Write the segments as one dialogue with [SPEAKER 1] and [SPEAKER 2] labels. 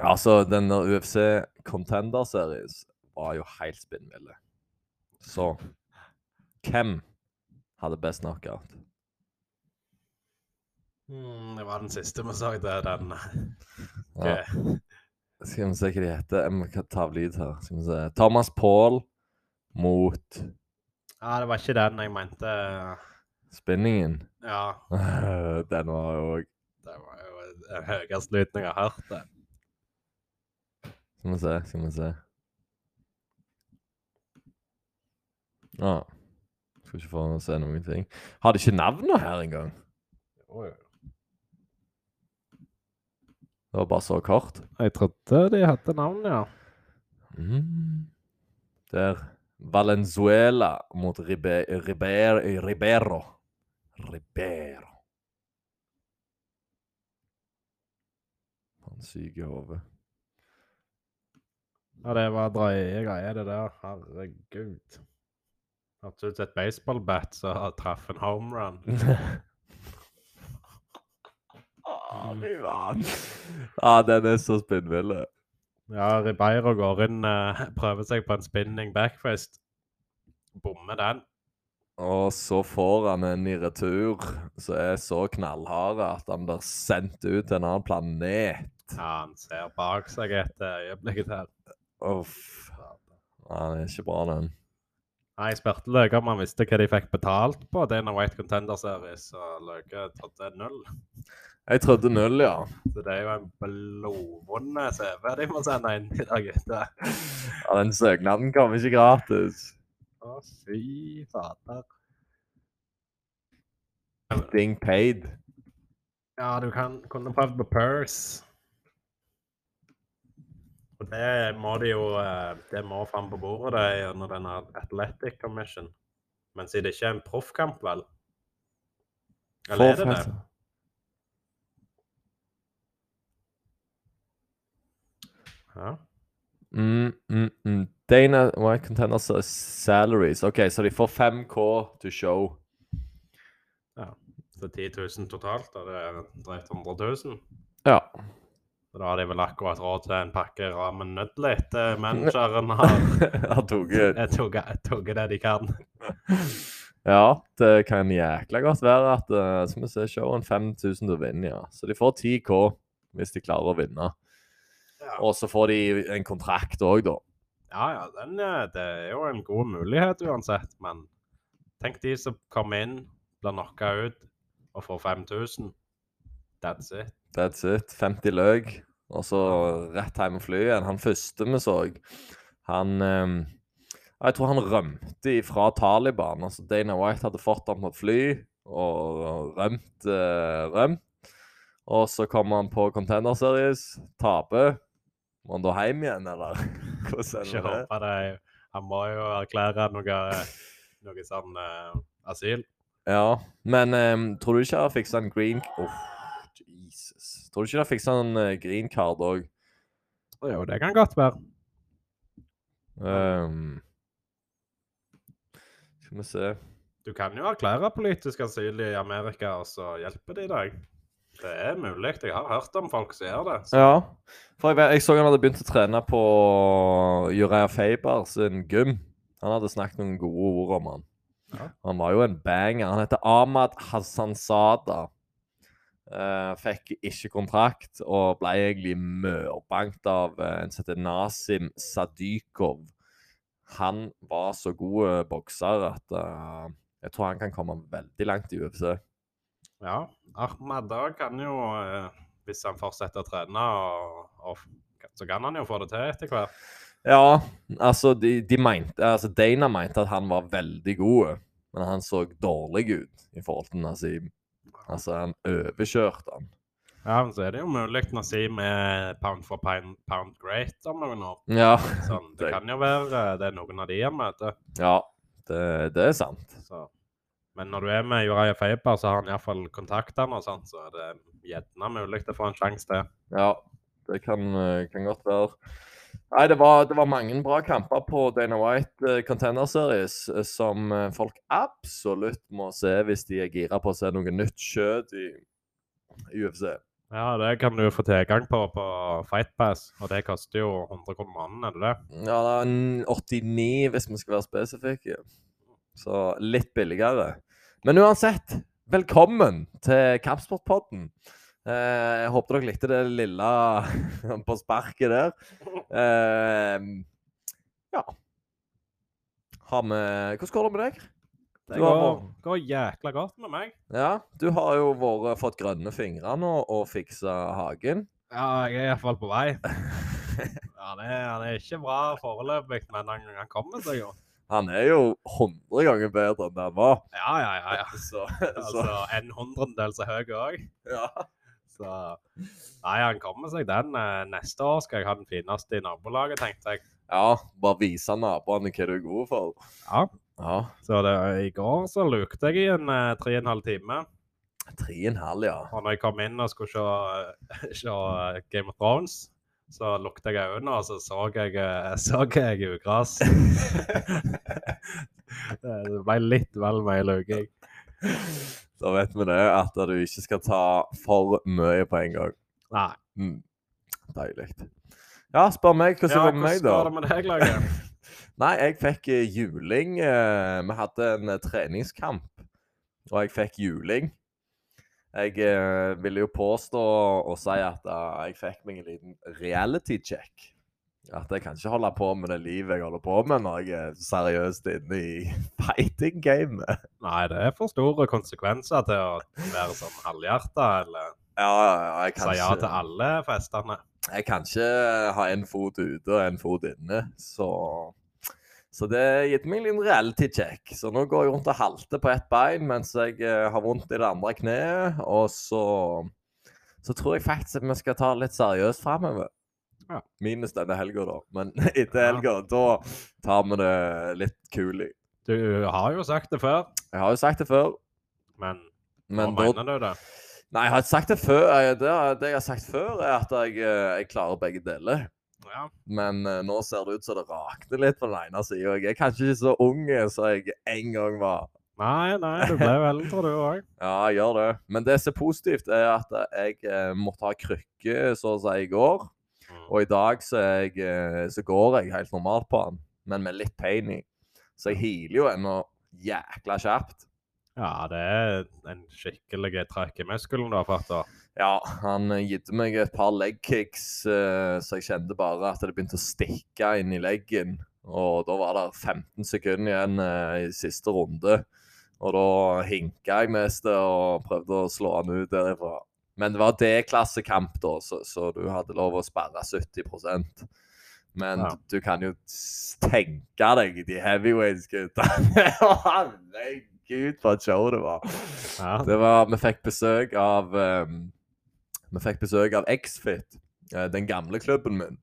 [SPEAKER 1] Altså, denne UFC Contender Series var jo helt spinnvill. Så hvem hadde best knockout?
[SPEAKER 2] Mm, det var den siste vi så, det er den
[SPEAKER 1] Ja,
[SPEAKER 2] Ok.
[SPEAKER 1] skal vi se hva de heter. Jeg må ka- ta av lyd her. Skal vi se. Thomas Paul mot
[SPEAKER 2] Ja, det var ikke den jeg mente.
[SPEAKER 1] spinningen.
[SPEAKER 2] Ja,
[SPEAKER 1] Den var jo òg
[SPEAKER 2] det var jo den høyeste lyden jeg har hørt. det.
[SPEAKER 1] Skal vi se, skal vi se. Ja. Skal ikke få se noen ting. Har de ikke navnet her engang? Det var bare så kort.
[SPEAKER 2] Jeg trodde de hadde navn, ja.
[SPEAKER 1] Mm. Der. Valenzuela mot Ribe Riber Ribero. Ribero. Han syke hodet.
[SPEAKER 2] Ja, det var drøye greier, det der. Herregud. Hørtes ut som et baseballbat som traff en home run.
[SPEAKER 1] Å, Ah, fy faen. Ja, den er så spinnvill.
[SPEAKER 2] Ja, Ribeiro går inn, eh, prøver seg på en spinning backfist. Bommer den.
[SPEAKER 1] Og så får han en i retur som er så knallhard at han blir sendt ut til en annen planet.
[SPEAKER 2] Ja, han ser bak seg et eh, øyeblikk der.
[SPEAKER 1] Uff. Han er ikke bra, den.
[SPEAKER 2] Nei, jeg spurte Løke om han visste hva de fikk betalt på Dana White Contender Series, og Løke trodde null.
[SPEAKER 1] Jeg trodde null, ja.
[SPEAKER 2] Så det er jo en blodvond CV de må sende inn i dag, gutter.
[SPEAKER 1] ja den søknaden kom ikke gratis.
[SPEAKER 2] Å, fy fader.
[SPEAKER 1] Being paid.
[SPEAKER 2] Ja, du kan, kunne prøvd på Purse. Og det må de jo eh, Det må fram på bordet det er under denne Athletic Commission. Men siden det ikke er en proffkamp, vel? Eller er det det? Ja.
[SPEAKER 1] Mm, mm, mm. Dana White Contender Series salaries. OK, så de får 5K to show.
[SPEAKER 2] Så 10 000 totalt, og det er drøyt 100 000.
[SPEAKER 1] Ja.
[SPEAKER 2] Så da har de vel akkurat råd til en pakke ramen nødler etter manageren har
[SPEAKER 1] Han tok ut.
[SPEAKER 2] Jeg tok jeg tok det de kan.
[SPEAKER 1] Ja, det kan jækla godt være at eh, Skal vi se, showen 5000 til å vinne, ja. Så de får 10K hvis de klarer å vinne.
[SPEAKER 2] Ja.
[SPEAKER 1] Og så får de en kontrakt òg, da.
[SPEAKER 2] Ja, ja, den, eh, det er jo en god mulighet uansett, men tenk de som kommer inn, blir knocka ut og får 5000. That's it.
[SPEAKER 1] That's it. 50 løk. Og så rett hjem med flyet. igjen. Han første vi så, han eh, Jeg tror han rømte fra Taliban. Altså Dana White hadde fått ham på et fly og og rømt. eh, rømt. Og så kommer han på Contender Series, taper. Må han da hjem igjen, eller? Hvordan
[SPEAKER 2] Ikke
[SPEAKER 1] er det?
[SPEAKER 2] håpe det. Han må jo erklære noe, eh, noe sånn eh, asyl.
[SPEAKER 1] Ja, men ehm, tror du ikke jeg har fiksa en green Uff, Jesus. Tror du ikke jeg har fiksa en eh, green card òg?
[SPEAKER 2] Jo, det kan godt være.
[SPEAKER 1] Ehm, skal vi se
[SPEAKER 2] Du kan jo erklære politisk asyl i Amerika, og så hjelper de deg. Det er mulig. Jeg har hørt om folk som gjør det. Så,
[SPEAKER 1] Ja. For jeg, vet- jeg så han hadde begynt å trene på Jurea Faber sin gym. Han hadde snakket noen gode ord om han.
[SPEAKER 2] Ja.
[SPEAKER 1] Han var jo en banger. Han heter Ahmad Hassansada. Eh, fikk ikke kontrakt og ble egentlig mørbankt av eh, en som heter Nasim Sadykov. Han var så god eh, bokser at eh, jeg tror han kan komme veldig langt i UFC.
[SPEAKER 2] ja. Ahmad da kan jo, eh, hvis han fortsetter å trene, og, og, så kan han jo få det til etter hvert.
[SPEAKER 1] Ja, altså, de, de mente, altså Dana mente at han var veldig god, men han så dårlig ut i forhold til Nazim. Altså, han overkjørte han.
[SPEAKER 2] Ja, men så er det jo mulig å si med pound for pound, pound great om noen år.
[SPEAKER 1] Ja,
[SPEAKER 2] Sånn, det
[SPEAKER 1] Det-
[SPEAKER 2] kan jo være eh, det er noen av de han møter.
[SPEAKER 1] ja det, det er sant.
[SPEAKER 2] Så. Men når du er med Joraya Feiber, så har han iallfall kontaktene og sånn, så er det gjerne mulig å få en sjanse til.
[SPEAKER 1] Ja, det kan, eh, kan godt være. Nei, det var, det var mange bra kamper på Dana White eh, Contender Series eh, som eh, folk absolutt må se hvis de er gira på å se noe nytt kjøtt i i UFC.
[SPEAKER 2] Ja, det kan du få tilgang på på Fightpass, og det koster jo 100 kroner måneden, er det det?
[SPEAKER 1] Ja, det er en 89 hvis vi skal være spesifikke. Så litt billigere. Men uansett, velkommen til Kampsportpodden. Eh, jeg håper dere likte det lille på sparket der. Eh, ja. Har vi Hvordan går det med deg?
[SPEAKER 2] Det
[SPEAKER 1] Du har
[SPEAKER 2] går,
[SPEAKER 1] må-
[SPEAKER 2] går jækla godt med meg.
[SPEAKER 1] Ja, du har jo vært, fått grønne fingre nå og fiksa hagen.
[SPEAKER 2] Ja, jeg er iallfall på vei. Ja, det, han er ikke bra foreløpig, men han, han kommer seg jo.
[SPEAKER 1] Han er jo 100 ganger bedre enn det han var.
[SPEAKER 2] Ja, ja, ja. ja.
[SPEAKER 1] Så,
[SPEAKER 2] Altså,
[SPEAKER 1] så
[SPEAKER 2] en hundredel så høy òg.
[SPEAKER 1] ja.
[SPEAKER 2] Så Nei, han kommer seg den. Eh, Neste år skal jeg ha den fineste i nabolaget, tenkte jeg.
[SPEAKER 1] ja, bare vise naboene hva du er god for.
[SPEAKER 2] Ja.
[SPEAKER 1] Ja.
[SPEAKER 2] Så det, i går så lukte jeg i en eh, tre og en halv time.
[SPEAKER 1] Tre og en halv, ja.
[SPEAKER 2] Og når jeg kom inn og skulle se, se eh, Game of Thrones, så lukta jeg øynene, og så så jeg, eh, så jeg ugras. det ble litt vel mye luking.
[SPEAKER 1] Da vet vi det, at du ikke skal ta for mye på en gang.
[SPEAKER 2] Nei.
[SPEAKER 1] Mm. Deilig. Ja, spør meg. Hvordan
[SPEAKER 2] Ja,
[SPEAKER 1] går det med meg, da?
[SPEAKER 2] går det med deg, Lage?
[SPEAKER 1] Nei, jeg fikk eh, juling. eh, Vi hadde en eh, treningskamp, og jeg fikk juling. Jeg eh, ville jo påstå og si at eh, jeg fikk meg en liten reality check. At jeg kan ikke holde på med det livet jeg holder på med når jeg er seriøst inne i fighting gamet.
[SPEAKER 2] Nei, det er for store konsekvenser til å være sånn halvhjerta eller
[SPEAKER 1] Ja, ja, ja, jeg kan
[SPEAKER 2] si ja til
[SPEAKER 1] ikke,
[SPEAKER 2] alle festene.
[SPEAKER 1] jeg kan ikke ha en fot ute og en fot inne, så Så det har gitt meg en liten reality check. Så nå går jeg rundt og halter på ett bein mens jeg eh, har vondt i det andre kneet. Og så Så tror jeg faktisk at vi skal ta det litt seriøst framover.
[SPEAKER 2] Ja.
[SPEAKER 1] Minus denne helga, da. Men etter helga, da tar vi det litt kul i.
[SPEAKER 2] Du har jo sagt det før,
[SPEAKER 1] Jeg har jo sagt det før,
[SPEAKER 2] men,
[SPEAKER 1] men
[SPEAKER 2] hva
[SPEAKER 1] da
[SPEAKER 2] mener du det?
[SPEAKER 1] Nei, jeg har ikke sagt det før. Jeg- Det, det jeg har sagt før, er at jeg, eh, jeg klarer begge deler.
[SPEAKER 2] Ja.
[SPEAKER 1] Men eh, nå ser det ut som det rakner litt på den ene sida. Jeg er kanskje ikke så ung eh, som jeg en gang var.
[SPEAKER 2] Nei, nei, du ble jo eldre, du òg.
[SPEAKER 1] Ja, jeg gjør det. Men det som er positivt, er at jeg eh, måtte ha krykke så å si i går. Og i dag så, er jeg, eh, så går jeg helt normalt på den, men med litt pain i. Så jeg healer jo ennå jækla kjapt.
[SPEAKER 2] Ja, det er en skikkelig trekk i muskelen du har fått. da.
[SPEAKER 1] Ja, han eh, gitte meg et par leg kicks, eh, så jeg kjente bare at det begynte å stikke inn i leggen. Og da var det 15 sekunder igjen eh, i siste runde. Og da hinka jeg mest og prøvde å slå han ut derifra. Men det var D-klassekamp, da, så, så du hadde lov å sperre 70 Men
[SPEAKER 2] Ja.
[SPEAKER 1] du kan jo s- tenke deg de heavyweights guttene. Herregud, for et show det var.
[SPEAKER 2] Ja.
[SPEAKER 1] Det var, vi fikk besøk av ehm, Vi fikk besøk av X-Fit, eh, den gamle klubben min.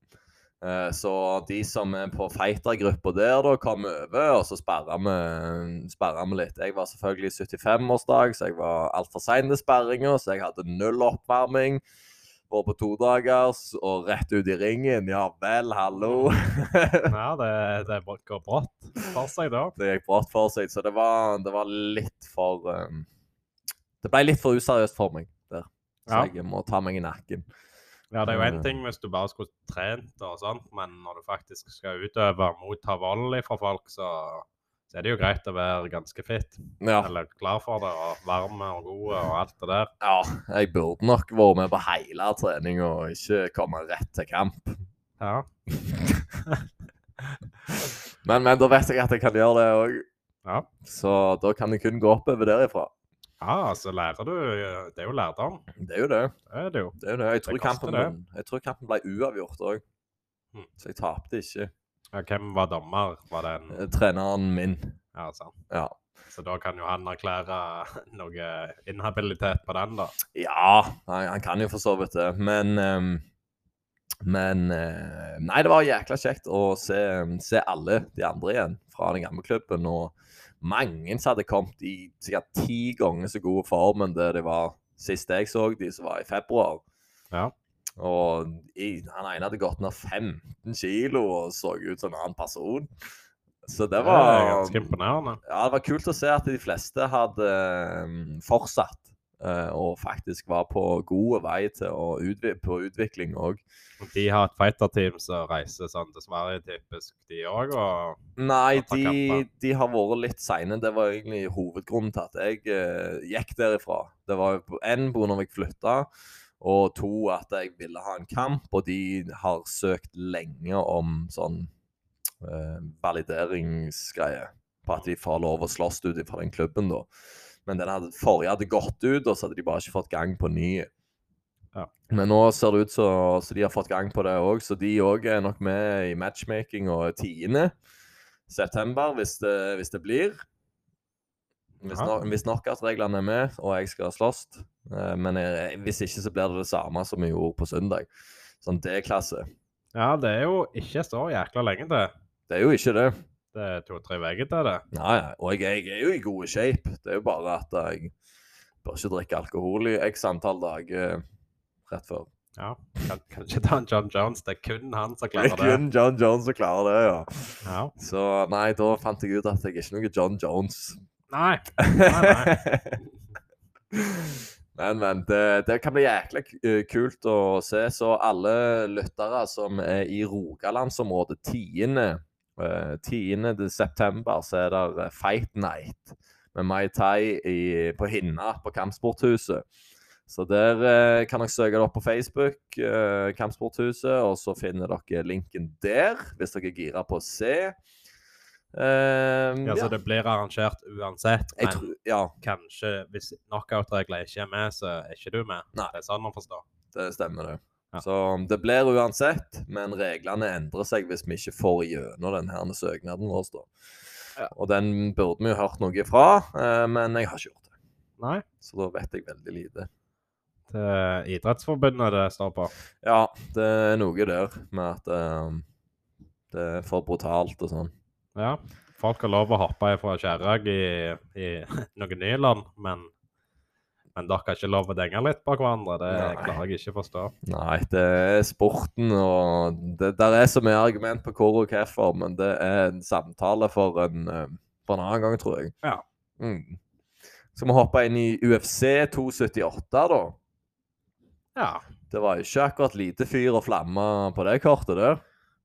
[SPEAKER 1] Eh, Så de som er på fightergruppa der, da, kom over, og så sperra vi, sperra vi litt. Jeg var selvfølgelig i 75-årsdag, så jeg var altfor sein til sperringa, så jeg hadde null oppvarming. Var på todagers og rett ut i ringen. Ja vel, hallo.
[SPEAKER 2] ja, det, det går brått for seg da.
[SPEAKER 1] det gikk brått for seg, så det var, det var litt for ehm, Det ble litt for useriøst for meg der. Så
[SPEAKER 2] Ja.
[SPEAKER 1] jeg må ta meg i nakken.
[SPEAKER 2] Ja, Det er jo én ting hvis du bare skulle trent, og sånt, men når du faktisk skal utøve og motta vold fra folk, så, så er det jo greit å være ganske fit.
[SPEAKER 1] Ja,
[SPEAKER 2] Eller klar for det, og varm og god og alt det der.
[SPEAKER 1] ja jeg burde nok vært med på hele treninga og ikke komme rett til kamp.
[SPEAKER 2] Ja.
[SPEAKER 1] Men, men da vet jeg at jeg kan gjøre det òg,
[SPEAKER 2] Ja.
[SPEAKER 1] så da kan jeg kun gå oppover derifra.
[SPEAKER 2] ja, så lærer du Det er jo lærdom.
[SPEAKER 1] Det er jo det.
[SPEAKER 2] Det er det jo.
[SPEAKER 1] det, er jo det. Jeg, tror
[SPEAKER 2] Det koster
[SPEAKER 1] kampen,
[SPEAKER 2] det.
[SPEAKER 1] min- jeg tror kampen ble uavgjort òg,
[SPEAKER 2] Mm.
[SPEAKER 1] så jeg tapte ikke.
[SPEAKER 2] Ja, hvem var dommer? Var det en
[SPEAKER 1] Eh, Treneren min.
[SPEAKER 2] Ja, sant.
[SPEAKER 1] Ja.
[SPEAKER 2] Så da kan jo han erklære noe inhabilitet på den, da.
[SPEAKER 1] Ja, han, han kan jo for så vidt det, men ehm, Men eh, Nei, det var jækla kjekt å se, se alle de andre igjen fra den gamle klubben. Og mange som hadde kommet i sikkert ti ganger så god form enn det de var sist jeg så de som var i februar.
[SPEAKER 2] Ja.
[SPEAKER 1] Og i, han ene hadde gått ned 15 kilo og så ut som en annen person. Så det
[SPEAKER 2] Det
[SPEAKER 1] var
[SPEAKER 2] er ganske imponerende.
[SPEAKER 1] ja, det var kult å se at de fleste hadde eh, fortsatt eh, og faktisk var på god vei til å utvi på utvikling òg.
[SPEAKER 2] De har et fighterteam som reiser sånn til Sverige, typisk de òg. Og
[SPEAKER 1] Nei,
[SPEAKER 2] At han
[SPEAKER 1] de,
[SPEAKER 2] kappa.
[SPEAKER 1] de har vært litt seine. Det var egentlig hovedgrunnen til at jeg eh, gikk derifra. Det var jo én på grunn av at jeg flytta, og to at jeg ville ha en kamp. Og de har søkt lenge om sånn eh, valideringsgreie på at de får lov å slåss ut fra den klubben, da. Men den hadde, forrige hadde gått ut, og så hadde de bare ikke fått gang på ny.
[SPEAKER 2] Ja.
[SPEAKER 1] Men nå ser det ut som så de har fått gang på det òg, så de òg er nok med i matchmaking og tiende september, hvis det, hvis det blir. Hvis,
[SPEAKER 2] Ja.
[SPEAKER 1] no, hvis knockout-reglene er med, og jeg skal slåss. Eh, Men jeg, hvis ikke, så blir det det samme som vi gjorde på søndag. Sånn D-klasse.
[SPEAKER 2] ja, det er jo ikke så jækla lenge til.
[SPEAKER 1] Det er jo ikke det.
[SPEAKER 2] Det er to-tre uker til det.
[SPEAKER 1] Nei, nei, og jeg, jeg er jo i god shape. Det er jo bare at jeg bør ikke drikke alkohol i x antall dager rett før.
[SPEAKER 2] Ja, kan, kanskje ta en John Jones. Det er kun han
[SPEAKER 1] Det
[SPEAKER 2] som
[SPEAKER 1] er
[SPEAKER 2] klarer det.
[SPEAKER 1] kun John Jones som klarer det, ja.
[SPEAKER 2] Ja.
[SPEAKER 1] Så nei, da fant jeg ut at jeg er ikke noe John Jones.
[SPEAKER 2] Nei. Nei,
[SPEAKER 1] Men, men. Det, det kan bli jækla k- eh, kult å se. Så alle lyttere som er i Rogalandsområdet 10. eh, 10. de september, så er det Fight Night med Mai Tai i, på Hinna på Kampsporthuset. Så der eh, kan dere søke det opp på Facebook, eh, Kampsporthuset, og så finner dere linken der hvis dere er gira på å se. Eh,
[SPEAKER 2] Ja, så det blir arrangert uansett.
[SPEAKER 1] Jeg
[SPEAKER 2] Men
[SPEAKER 1] tror, ja,
[SPEAKER 2] kanskje hvis knockout-regler ikke er med, så er ikke du med.
[SPEAKER 1] Nei.
[SPEAKER 2] Det er sånn man forstår.
[SPEAKER 1] Det stemmer, det.
[SPEAKER 2] Ja.
[SPEAKER 1] Så um, det blir uansett, men reglene endrer seg hvis vi ikke får gjennom den her søknaden vår. da.
[SPEAKER 2] Ja.
[SPEAKER 1] Og den burde vi jo hørt noe fra, eh, men jeg har ikke gjort det.
[SPEAKER 2] Nei.
[SPEAKER 1] Så da vet jeg veldig lite.
[SPEAKER 2] Det er Idrettsforbundet det står på.
[SPEAKER 1] Ja, det er noe der med at eh, det er for brutalt og sånn.
[SPEAKER 2] Ja. Folk har lov å hoppe fra kjerrag i, i noen nye land, men, men dere har ikke lov å denge litt på hverandre. Det
[SPEAKER 1] Nei.
[SPEAKER 2] klarer jeg ikke å forstå.
[SPEAKER 1] Nei, det er sporten og det, Der er så mye argument på hvor og hvorfor, men det er en samtale for en, eh, for en annen gang, tror jeg.
[SPEAKER 2] Ja.
[SPEAKER 1] Mm. Skal vi hoppe inn i UFC 278, da?
[SPEAKER 2] Ja,
[SPEAKER 1] Det var jo ikke akkurat lite fyr og flamme på det kortet der.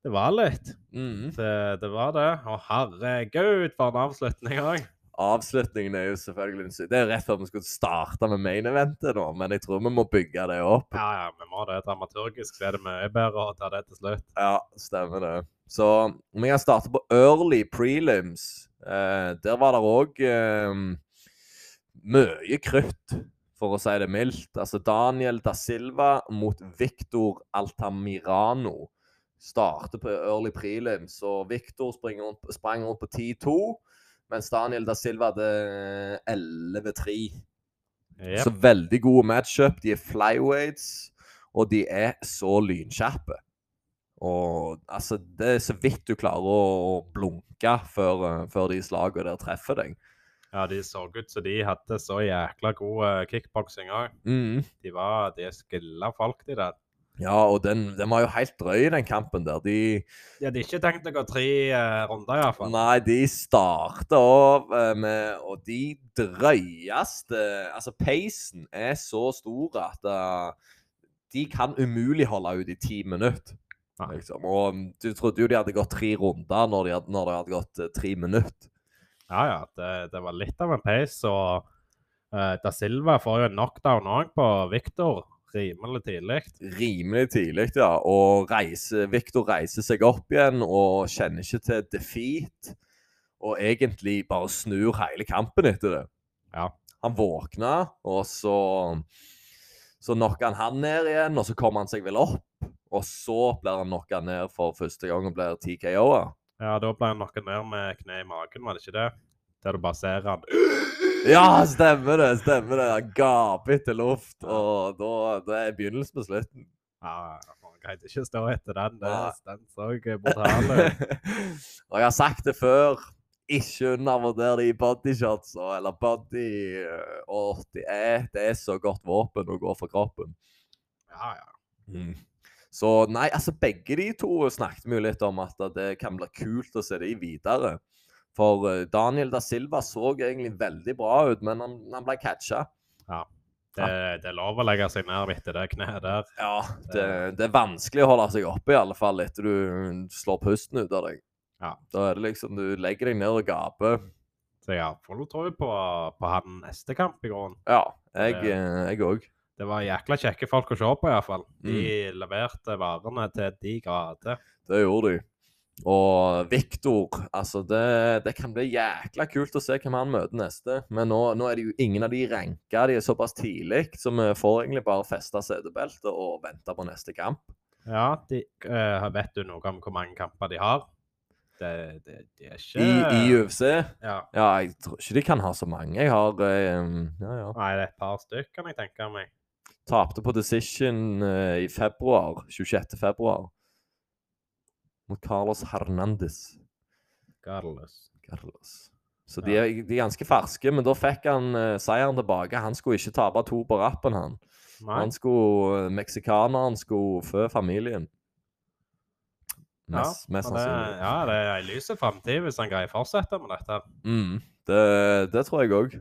[SPEAKER 2] det var litt.
[SPEAKER 1] Mm.
[SPEAKER 2] Det, det var det. Å, herregud, for en avslutning òg.
[SPEAKER 1] Avslutningen er jo selvfølgelig den sy- Det er jo rett før vi skulle starte med main eventet, nå, men jeg tror vi må bygge det opp.
[SPEAKER 2] Ja, ja, vi må det dramaturgisk. Så er det mye bedre å ta det til slutt.
[SPEAKER 1] Ja, stemmer det. Så vi kan starte på early prelims. Eh, der var det òg eh, mye krutt, for å si det mildt. Altså Daniel da Silva mot Victor Altamirano starter på early prelims, og Victor sprang rundt, sprang rundt på 10-2, mens Daniel da Silva hadde eh, 11-3.
[SPEAKER 2] Jep.
[SPEAKER 1] Så veldig gode matchup. De er flyweights, og de er så lynkjappe. Og altså, det er så vidt du klarer å, å blunke før, eh, før de slagene der treffer deg.
[SPEAKER 2] Ja, de så ut som de hadde så jækla god eh, kickboksing òg.
[SPEAKER 1] Mm.
[SPEAKER 2] De var de skilla folk, de der.
[SPEAKER 1] Ja, og den, den var jo helt drøy, den kampen der. De,
[SPEAKER 2] De hadde ikke tenkt å gå tre eh, runder, iallfall.
[SPEAKER 1] nei, de starta av eh, med Og de drøyeste Altså, peisen er så stor at eh, de kan umulig holde ut i ti minutter.
[SPEAKER 2] Nei.
[SPEAKER 1] Liksom. Og mm, du trodde jo de hadde gått tre runder når, de hadde, når det hadde gått eh, tre minutter.
[SPEAKER 2] Ja, ja, det, det var litt av en pace. Og eh, da Silva får jo en knockdown òg på Victor rimelig tidlig.
[SPEAKER 1] Rimelig tidlig, ja. Og reise, Victor reiser seg opp igjen og kjenner ikke til defeat. Og egentlig bare snur hele kampen etter det.
[SPEAKER 2] Ja.
[SPEAKER 1] Han våkna, og så Så knocka han han ned igjen, og så kom han seg vel opp. Og så blir han knocka ned for første gang og blir TKO-a.
[SPEAKER 2] Ja, da ble han knocka ned med kne i magen, var det ikke det? Der du bare ser han
[SPEAKER 1] Ja, stemmer det! stemmer det. Han gaper etter luft, og da, det er begynnelsen på slutten.
[SPEAKER 2] Ja, man kan ikke stå etter den. Det,
[SPEAKER 1] Nei.
[SPEAKER 2] den så brutal ut.
[SPEAKER 1] og jeg har sagt det før, ikke undervurder de bodyshots og- eller body eh, åh, Det er, det er så godt våpen å gå for kroppen.
[SPEAKER 2] Ja, ja.
[SPEAKER 1] Så nei, altså begge de to snakket vi jo litt om at det kan bli kult å se de videre. For eh, Daniel da Silva så egentlig veldig bra ut, men han, han ble catcha.
[SPEAKER 2] Ja. Det, det er lov å legge seg ned etter det kneet der.
[SPEAKER 1] Ja, det, det er vanskelig å holde seg oppe, i alle fall etter du slår pusten ut av deg.
[SPEAKER 2] Ja.
[SPEAKER 1] Da er det liksom Du legger deg ned og gaper.
[SPEAKER 2] Så jeg har full tro på, på han neste kamp i går.
[SPEAKER 1] Ja, jeg òg.
[SPEAKER 2] Det var jækla kjekke folk å se på, iallfall. De leverte varene til de grader.
[SPEAKER 1] Det gjorde de. Og Viktor Altså, det, det kan bli jækla kult å se hvem han møter neste. Men nå, nå er det jo ingen av de ranka. De er såpass tidlig, så vi får egentlig bare feste setebeltet og vente på neste kamp.
[SPEAKER 2] Ja, de, eh, vet du noe om hvor mange kamper de har? Det, det, de er ikke
[SPEAKER 1] I, I UFC
[SPEAKER 2] Ja.
[SPEAKER 1] Ja, jeg tror ikke de kan ha så mange. Jeg har eh, ja, ja.
[SPEAKER 2] Nei, det er et par stykker, kan jeg tenke meg.
[SPEAKER 1] Tapte på Decision eh, i februar. 26. februar. Mot Carlos Hernandez.
[SPEAKER 2] Carlos.
[SPEAKER 1] Carlos. Så de er, de er ganske ferske, men da fikk han eh, seieren tilbake. Han skulle ikke tape to på rappen, han.
[SPEAKER 2] Nei,
[SPEAKER 1] Han skulle, eh, Meksikaneren skulle fø familien.
[SPEAKER 2] ja.
[SPEAKER 1] Mest, mest
[SPEAKER 2] men det,
[SPEAKER 1] sannsynlig.
[SPEAKER 2] ja, det er ei lys framtid hvis han greier å fortsette med dette.
[SPEAKER 1] Mm, det, det tror jeg òg.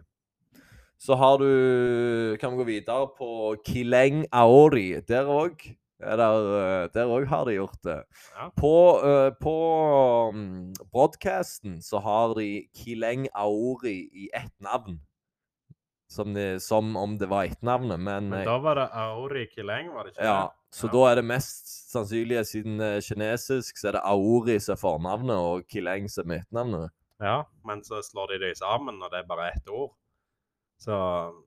[SPEAKER 1] Så har du Kan vi gå videre på Kileng Aori. Der òg. Der, eh, der òg har de gjort det.
[SPEAKER 2] Ja.
[SPEAKER 1] På, eh, på mm, broadcasten så har de Kileng Aori i ett navn. Som, de, som om det var etternavnet, men,
[SPEAKER 2] Men
[SPEAKER 1] eh,
[SPEAKER 2] da var det Aori Kileng, var det ikke?
[SPEAKER 1] ja, Så
[SPEAKER 2] ja.
[SPEAKER 1] da er det mest sannsynlige, siden det er kinesisk, så er det Aori som er fornavnet, og Kileng som er etternavnet.
[SPEAKER 2] det? Ja, men så slår de det sammen, og det er bare ett ord. Så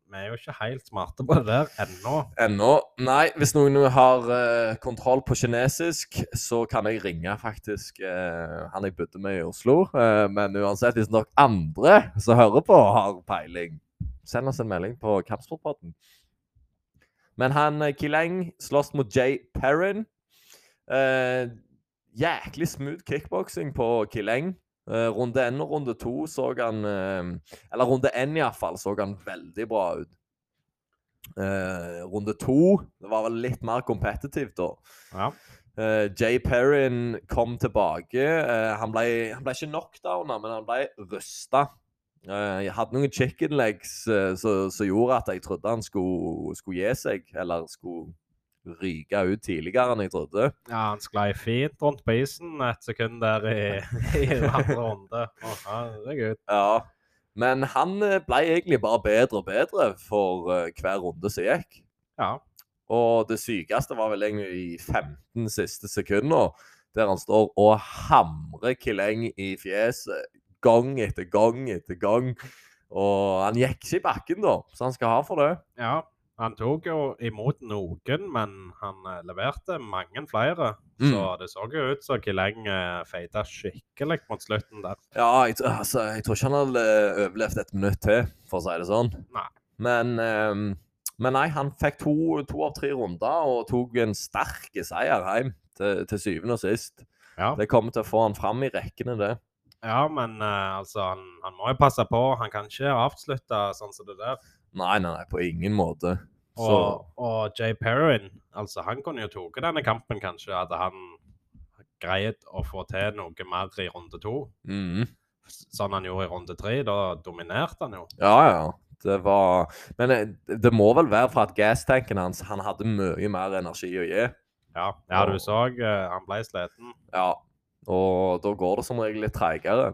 [SPEAKER 2] vi er jo ikke helt smarte på det der ennå.
[SPEAKER 1] Ennå. Nei, hvis noen har eh, kontroll på kinesisk, så kan jeg ringe faktisk eh, han jeg bodde med i Oslo. Eh, men uansett, hvis nok andre som hører på, har peiling, send oss en melding på Kampsportpodden. Men han eh, Kileng slåss mot Jay Perrin. Eh, jæklig smooth kickboksing på Kileng. Eh, runde én og runde to så han eh, Eller runde én iallfall så han veldig bra ut. Eh, runde to Det var vel litt mer kompetitivt, da.
[SPEAKER 2] Ja.
[SPEAKER 1] Eh, Jay Perrin kom tilbake. Eh, han, ble, han ble ikke knockdowna, men han ble rusta. jeg hadde noen chicken legs eh, som som gjorde at jeg trodde han skulle, skulle gi seg, eller skulle ryke ut tidligere enn jeg trodde.
[SPEAKER 2] ja, han sklei fint rundt på isen et sekund der i, i andre runde. Å, herregud.
[SPEAKER 1] Ja. Men han eh, ble egentlig bare bedre og bedre for eh, hver runde som gikk.
[SPEAKER 2] Ja.
[SPEAKER 1] Og det sykeste var vel egentlig i 15 siste sekunder, der han står og hamrer Kileng i fjeset gang etter gang etter gang. Og han gikk ikke i bakken, da, så han skal ha for det.
[SPEAKER 2] ja. Han tok jo imot noen, men han eh, leverte mange flere.
[SPEAKER 1] Mm.
[SPEAKER 2] Så det så jo ut som Kileng eh, feita skikkelig mot slutten der.
[SPEAKER 1] Ja, jeg, tr- altså, jeg tror ikke han hadde eh, overlevd et minutt til, for å si det sånn.
[SPEAKER 2] Nei.
[SPEAKER 1] Men, ehm, men nei, han fikk to, to av tre runder og tok en sterk seier hjem til, til syvende og sist.
[SPEAKER 2] Ja.
[SPEAKER 1] Det kommer til å få han fram i rekkene, det.
[SPEAKER 2] Ja, men eh, altså, han, han må jo passe på. Han kan ikke avslutte sånn som det der.
[SPEAKER 1] Nei, nei, nei, på ingen måte.
[SPEAKER 2] Og,
[SPEAKER 1] Så
[SPEAKER 2] og Jay Perrin, altså, han kunne jo tatt denne kampen, kanskje, hadde han greid å få til noe mer i runde to.
[SPEAKER 1] mhm.
[SPEAKER 2] S- Sånn han gjorde i runde tre, da dominerte han jo.
[SPEAKER 1] Ja, ja. Det var Men eh, det må vel være for at gastanken hans Han hadde mye mer energi å gi.
[SPEAKER 2] Ja, ja du
[SPEAKER 1] Og-
[SPEAKER 2] så eh, han ble sliten.
[SPEAKER 1] Ja. Og da går det som regel litt treigere.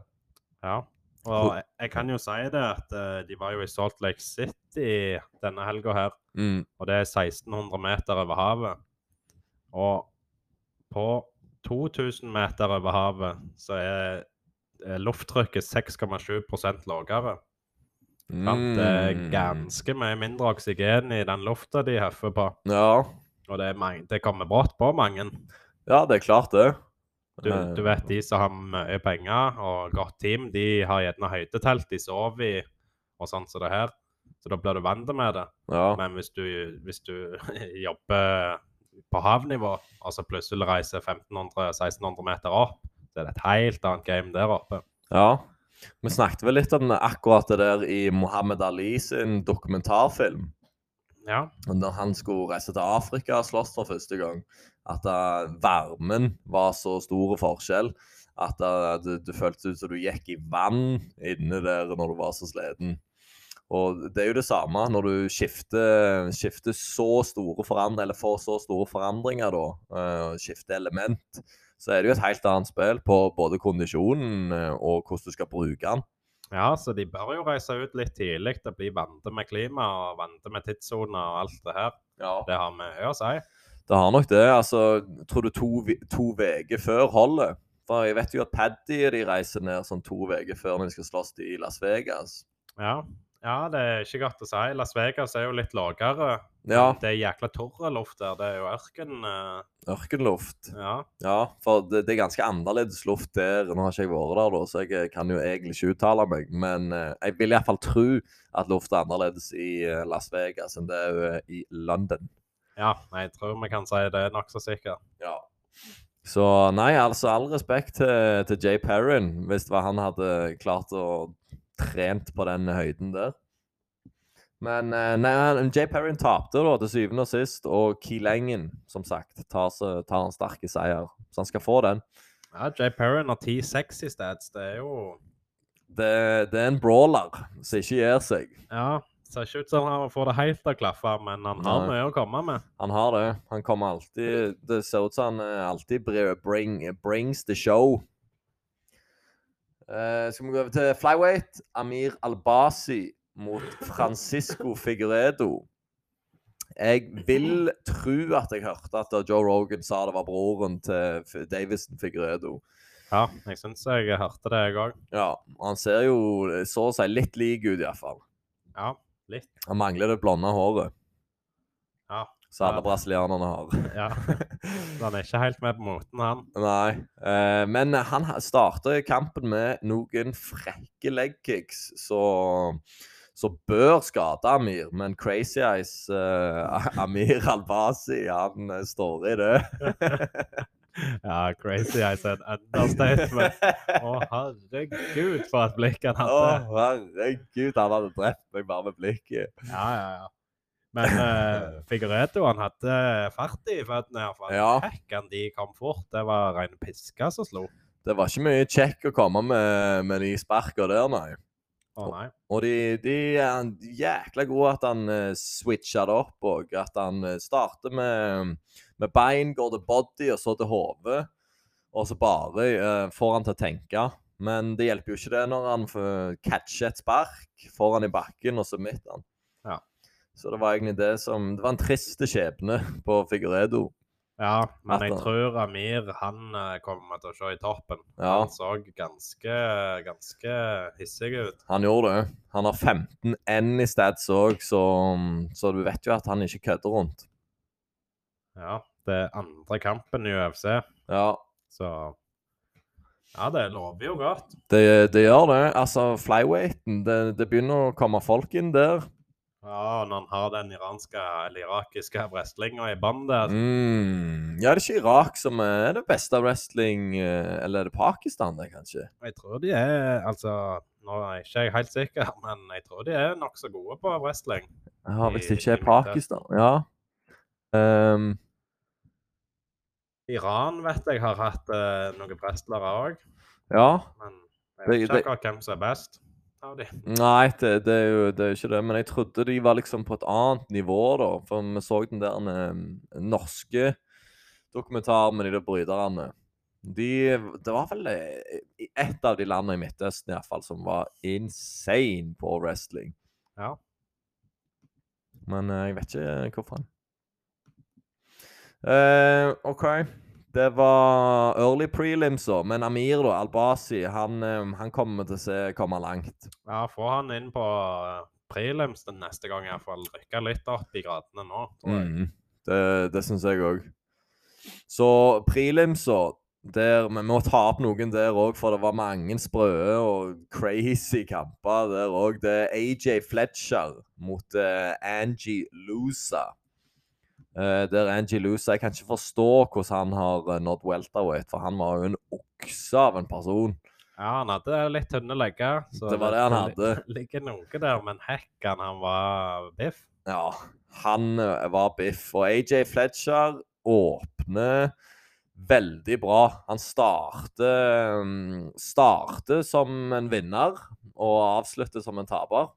[SPEAKER 2] Ja. Og jeg, jeg kan jo si det at eh, de var jo i Salt Lake City denne helga her.
[SPEAKER 1] Mm.
[SPEAKER 2] og det er 1600 meter over havet. Og på 2000 meter over havet så er er lufttrykket 6,7 lavere. sant? Det er
[SPEAKER 1] Mm.
[SPEAKER 2] ganske mye mindre oksygen i den lufta de heffer på.
[SPEAKER 1] Ja.
[SPEAKER 2] Og det, er mange, det kommer brått på mange.
[SPEAKER 1] ja, det er klart, det.
[SPEAKER 2] Du,
[SPEAKER 1] Eh,
[SPEAKER 2] du vet de som har mye penger og godt team, de har gjerne høydetelt de sover i, og sånn som det her. Så da blir du vant med det.
[SPEAKER 1] Ja.
[SPEAKER 2] Men hvis du, hvis du jobber på havnivå, og så plutselig reiser 1500-1600 meter opp, så er det et helt annet game der oppe.
[SPEAKER 1] Ja. Vi snakket vel litt om akkurat det der i Mohammed Ali sin dokumentarfilm.
[SPEAKER 2] Ja,
[SPEAKER 1] Når han skulle reise til Afrika og slåss for første gang. At eh, varmen var så stor forskjell at eh, du, du følte ut som du gikk i vann inne der når du var så sliten. Og det er jo det samme når du skifter, skifter så store forandringer, eller får så store forandringer, da, eh, og skifter element, så er det jo et helt annet spill på både kondisjonen eh, og hvordan du skal bruke den.
[SPEAKER 2] Ja, så de bør jo reise ut litt tidlig og bli vante med klima og vante med tidssoner og alt det her. Det har mye å si.
[SPEAKER 1] Det har nok det. altså, Tror du to vi- to uker før holder? For jeg vet jo at Paddy og de reiser ned sånn to uker før når de skal slåss i Las Vegas.
[SPEAKER 2] Ja. ja, det er ikke godt å si. Las Vegas er jo litt lavere.
[SPEAKER 1] Ja,
[SPEAKER 2] Det er jækla tørre luft der. Det er jo ørken. eh,
[SPEAKER 1] ørkenluft.
[SPEAKER 2] Ja.
[SPEAKER 1] Ja, for det, det er ganske annerledes luft der. Nå har ikke jeg vært der, da, så jeg kan jo egentlig ikke uttale meg. Men eh, jeg vil iallfall tro at lufta er annerledes i eh, Las Vegas enn det er eh, i London.
[SPEAKER 2] ja, jeg tror vi kan si det er nokså sikkert.
[SPEAKER 1] Ja. Så nei, altså all respekt til, til Jay Perrin, hvis det var han hadde klart å trent på den høyden der. Men eh, nei, han- Jay Perrin tapte da til syvende og sist, og Key Lengen, som sagt, tar, seg- tar en sterk seier. Så han skal få den.
[SPEAKER 2] Ja, Jay Perrin har 10-6 i stats. Det er jo
[SPEAKER 1] Det, det er en brawler som ikke gir seg.
[SPEAKER 2] Ja, ser ikke ut som han får det helt til å klaffe, men han har
[SPEAKER 1] Nei.
[SPEAKER 2] mye å komme med.
[SPEAKER 1] Han har det. Han kommer alltid Det ser ut som han eh, alltid bri- bring, brings the show. Eh, skal vi gå over til flyweight? Amir Albasi mot Francisco Figueredo. Jeg vil tro at jeg hørte at Joe Rogan sa det var broren til F- Davison Figueredo.
[SPEAKER 2] Ja, jeg syns jeg hørte det, jeg òg.
[SPEAKER 1] Ja, han ser jo eh, så å si litt lik ut, iallfall.
[SPEAKER 2] Ja, litt.
[SPEAKER 1] Han mangler det blonde håret
[SPEAKER 2] Ja.
[SPEAKER 1] som alle
[SPEAKER 2] Ja.
[SPEAKER 1] brasilianerne har.
[SPEAKER 2] ja. Så han er ikke helt med på moten, han.
[SPEAKER 1] Nei. eh, men han ha- starter kampen med noen frekke legkicks, så så bør skade Amir, men Crazy Eyes eh, Amir Albasi, han eh, står i det.
[SPEAKER 2] Ja, crazy I said understatement. Å, herregud, for et blikk han
[SPEAKER 1] Å,
[SPEAKER 2] hadde.
[SPEAKER 1] herregud, han hadde drept meg bare med blikket.
[SPEAKER 2] Ja, ja, ja. Men uh, Figueredo han hadde fart i føttene. i hvert fall.
[SPEAKER 1] Ja.
[SPEAKER 2] Hekken, de kom fort. Det var rene piska som slo.
[SPEAKER 1] Det var ikke mye kjekk å komme med, med de sparka der, nei.
[SPEAKER 2] Å nei.
[SPEAKER 1] Og de, de er jækla gode at han eh, switcher det opp og at han eh, starter med, med bein, går til body og så til hodet. Og så bare eh, får han til å tenke. Men det hjelper jo ikke det når han får- catcher et spark, får han i bakken og så midt han.
[SPEAKER 2] Ja.
[SPEAKER 1] Så det var egentlig det som Det var en trist skjebne på Figueredo.
[SPEAKER 2] Ja, men jeg
[SPEAKER 1] Etter-
[SPEAKER 2] tror Amir han eh, kommer til å se i toppen.
[SPEAKER 1] Ja.
[SPEAKER 2] Han så ganske, ganske hissig ut.
[SPEAKER 1] Han gjorde det. Han har 15 N i stats òg, så, så du vet jo at han ikke kødder rundt.
[SPEAKER 2] Ja, det er andre kampen i UFC,
[SPEAKER 1] Ja,
[SPEAKER 2] så Ja, det lover jo godt.
[SPEAKER 1] Det, det gjør det. Altså, flyweighten det, det begynner å komme folk inn der.
[SPEAKER 2] Ja, og når han har den iranske eller irakiske wrestlinga i bandet
[SPEAKER 1] Mm. Ja, det er ikke Irak som er det beste av wrestling eh, Eller er det Pakistan, det, kanskje?
[SPEAKER 2] Jeg tror de er Altså, nå er jeg ikke jeg helt sikker, men jeg tror de er nokså gode på wrestling.
[SPEAKER 1] Jeg har visst
[SPEAKER 2] I-
[SPEAKER 1] ikke
[SPEAKER 2] i
[SPEAKER 1] Pakistan. Ja. Ehm,
[SPEAKER 2] Iran vet jeg har hatt eh, noen wrestlere òg,
[SPEAKER 1] ja.
[SPEAKER 2] men jeg vet
[SPEAKER 1] Det-
[SPEAKER 2] ikke
[SPEAKER 1] det-
[SPEAKER 2] akkurat hvem som er best av de.
[SPEAKER 1] Nei, det, det, er jo, det er jo ikke det. Men jeg trodde de var liksom på et annet nivå, da. For vi så den der eh, norske dokumentaren med de der bryterne. De, det var vel eh, i ett av de landene i Midtøsten i hvert fall, som var insane på wrestling.
[SPEAKER 2] Ja.
[SPEAKER 1] Men eh, jeg vet ikke hvorfor. Eh, OK. Det var early prelims, da. Men Amir, da, Albasi, han, eh, han kommer til å se komme langt.
[SPEAKER 2] Ja, få han inn på eh, prelims den neste gang, iallfall. Rykke litt opp i gradene nå, tror jeg.
[SPEAKER 1] Mm. Det, det syns jeg òg. Så prelimsa der, Vi må ta opp noen der òg, for det var mange sprø og crazy kamper der òg. Det er AJ Fletcher mot eh, Angie Lusa. Eh, der Angie Lusa Jeg kan ikke forstå hvordan han har eh, nådd welterweight, for han var jo en okse av en person.
[SPEAKER 2] Ja, han hadde litt tynne legger. så
[SPEAKER 1] Det var det han hadde.
[SPEAKER 2] Ligger noe der, men hekken, han var biff.
[SPEAKER 1] Ja, han eh, var biff. Og AJ Fletcher åpner veldig bra. Han starter, mm, starter som en vinner og avslutter som en taper.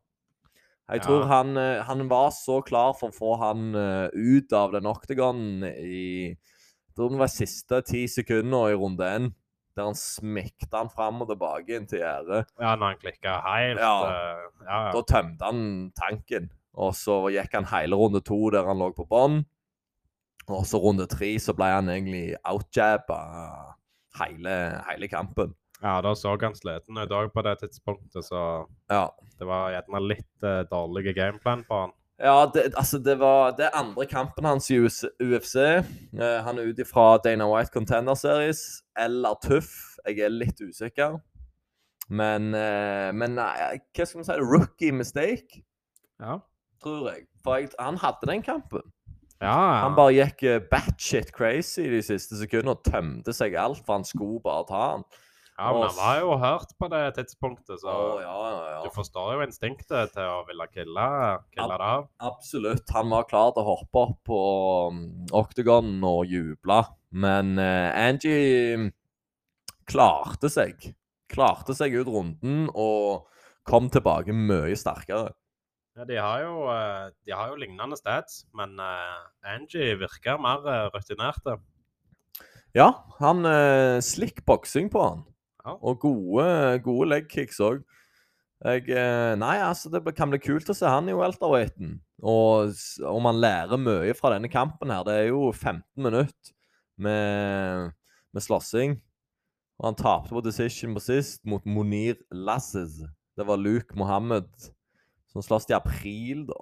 [SPEAKER 1] Jeg
[SPEAKER 2] Ja.
[SPEAKER 1] tror han, eh, han var så klar for å få han eh, ut av den oktagonen i jeg tror det var siste ti sekunder i runde én, der han smekte han fram og tilbake inn til gjerdet.
[SPEAKER 2] Ja, når han klikka helt
[SPEAKER 1] Ja.
[SPEAKER 2] eh, ja, ja.
[SPEAKER 1] Da tømte han tanken, og så gikk han hele runde to der han lå på bånn. Og så runde tre så ble han egentlig outjabba hele, hele kampen.
[SPEAKER 2] ja, da så han sliten ut òg på det tidspunktet, så
[SPEAKER 1] Ja.
[SPEAKER 2] det var gjerne litt eh, dårlige gameplan på han.
[SPEAKER 1] Ja, det, altså det var det er andre kampen hans i US UFC. Eh, han er ute fra Dana White Contender Series eller Tøff. Jeg er litt usikker. Men, eh, men nei, hva skal vi si? Rookie mistake,
[SPEAKER 2] Ja.
[SPEAKER 1] tror jeg. For jeg, han hadde den kampen.
[SPEAKER 2] ja.
[SPEAKER 1] Han bare gikk eh, batshit crazy de siste sekundene og tømte seg alt, for han skulle bare ta han.
[SPEAKER 2] ja, men han var jo hørt på det tidspunktet, så
[SPEAKER 1] Å, ja, ja,
[SPEAKER 2] du
[SPEAKER 1] ja.
[SPEAKER 2] forstår jo instinktet til å ville kille, kille det av.
[SPEAKER 1] Absolutt. Han var klar til å hoppe opp på mm, oktagonen og juble. Men eh, Angie mm, klarte seg. Klarte seg ut runden og kom tilbake mye sterkere.
[SPEAKER 2] Ja, de har jo, eh, de har jo lignende stats, men eh, Angie virker mer eh, rutinerte.
[SPEAKER 1] Ja, han eh, slikk boksing på han.
[SPEAKER 2] Ja.
[SPEAKER 1] Og gode, gode leg kicks òg. Jeg eh, Nei, altså, det kan bli kult å se han i welterweighten. Og s- om han lærer mye fra denne kampen her Det er jo 15 minutter med, med slåssing. Og han tapte på decision på sist mot Monir Lassiz. Det var Luke Mohammed som sloss i april, da.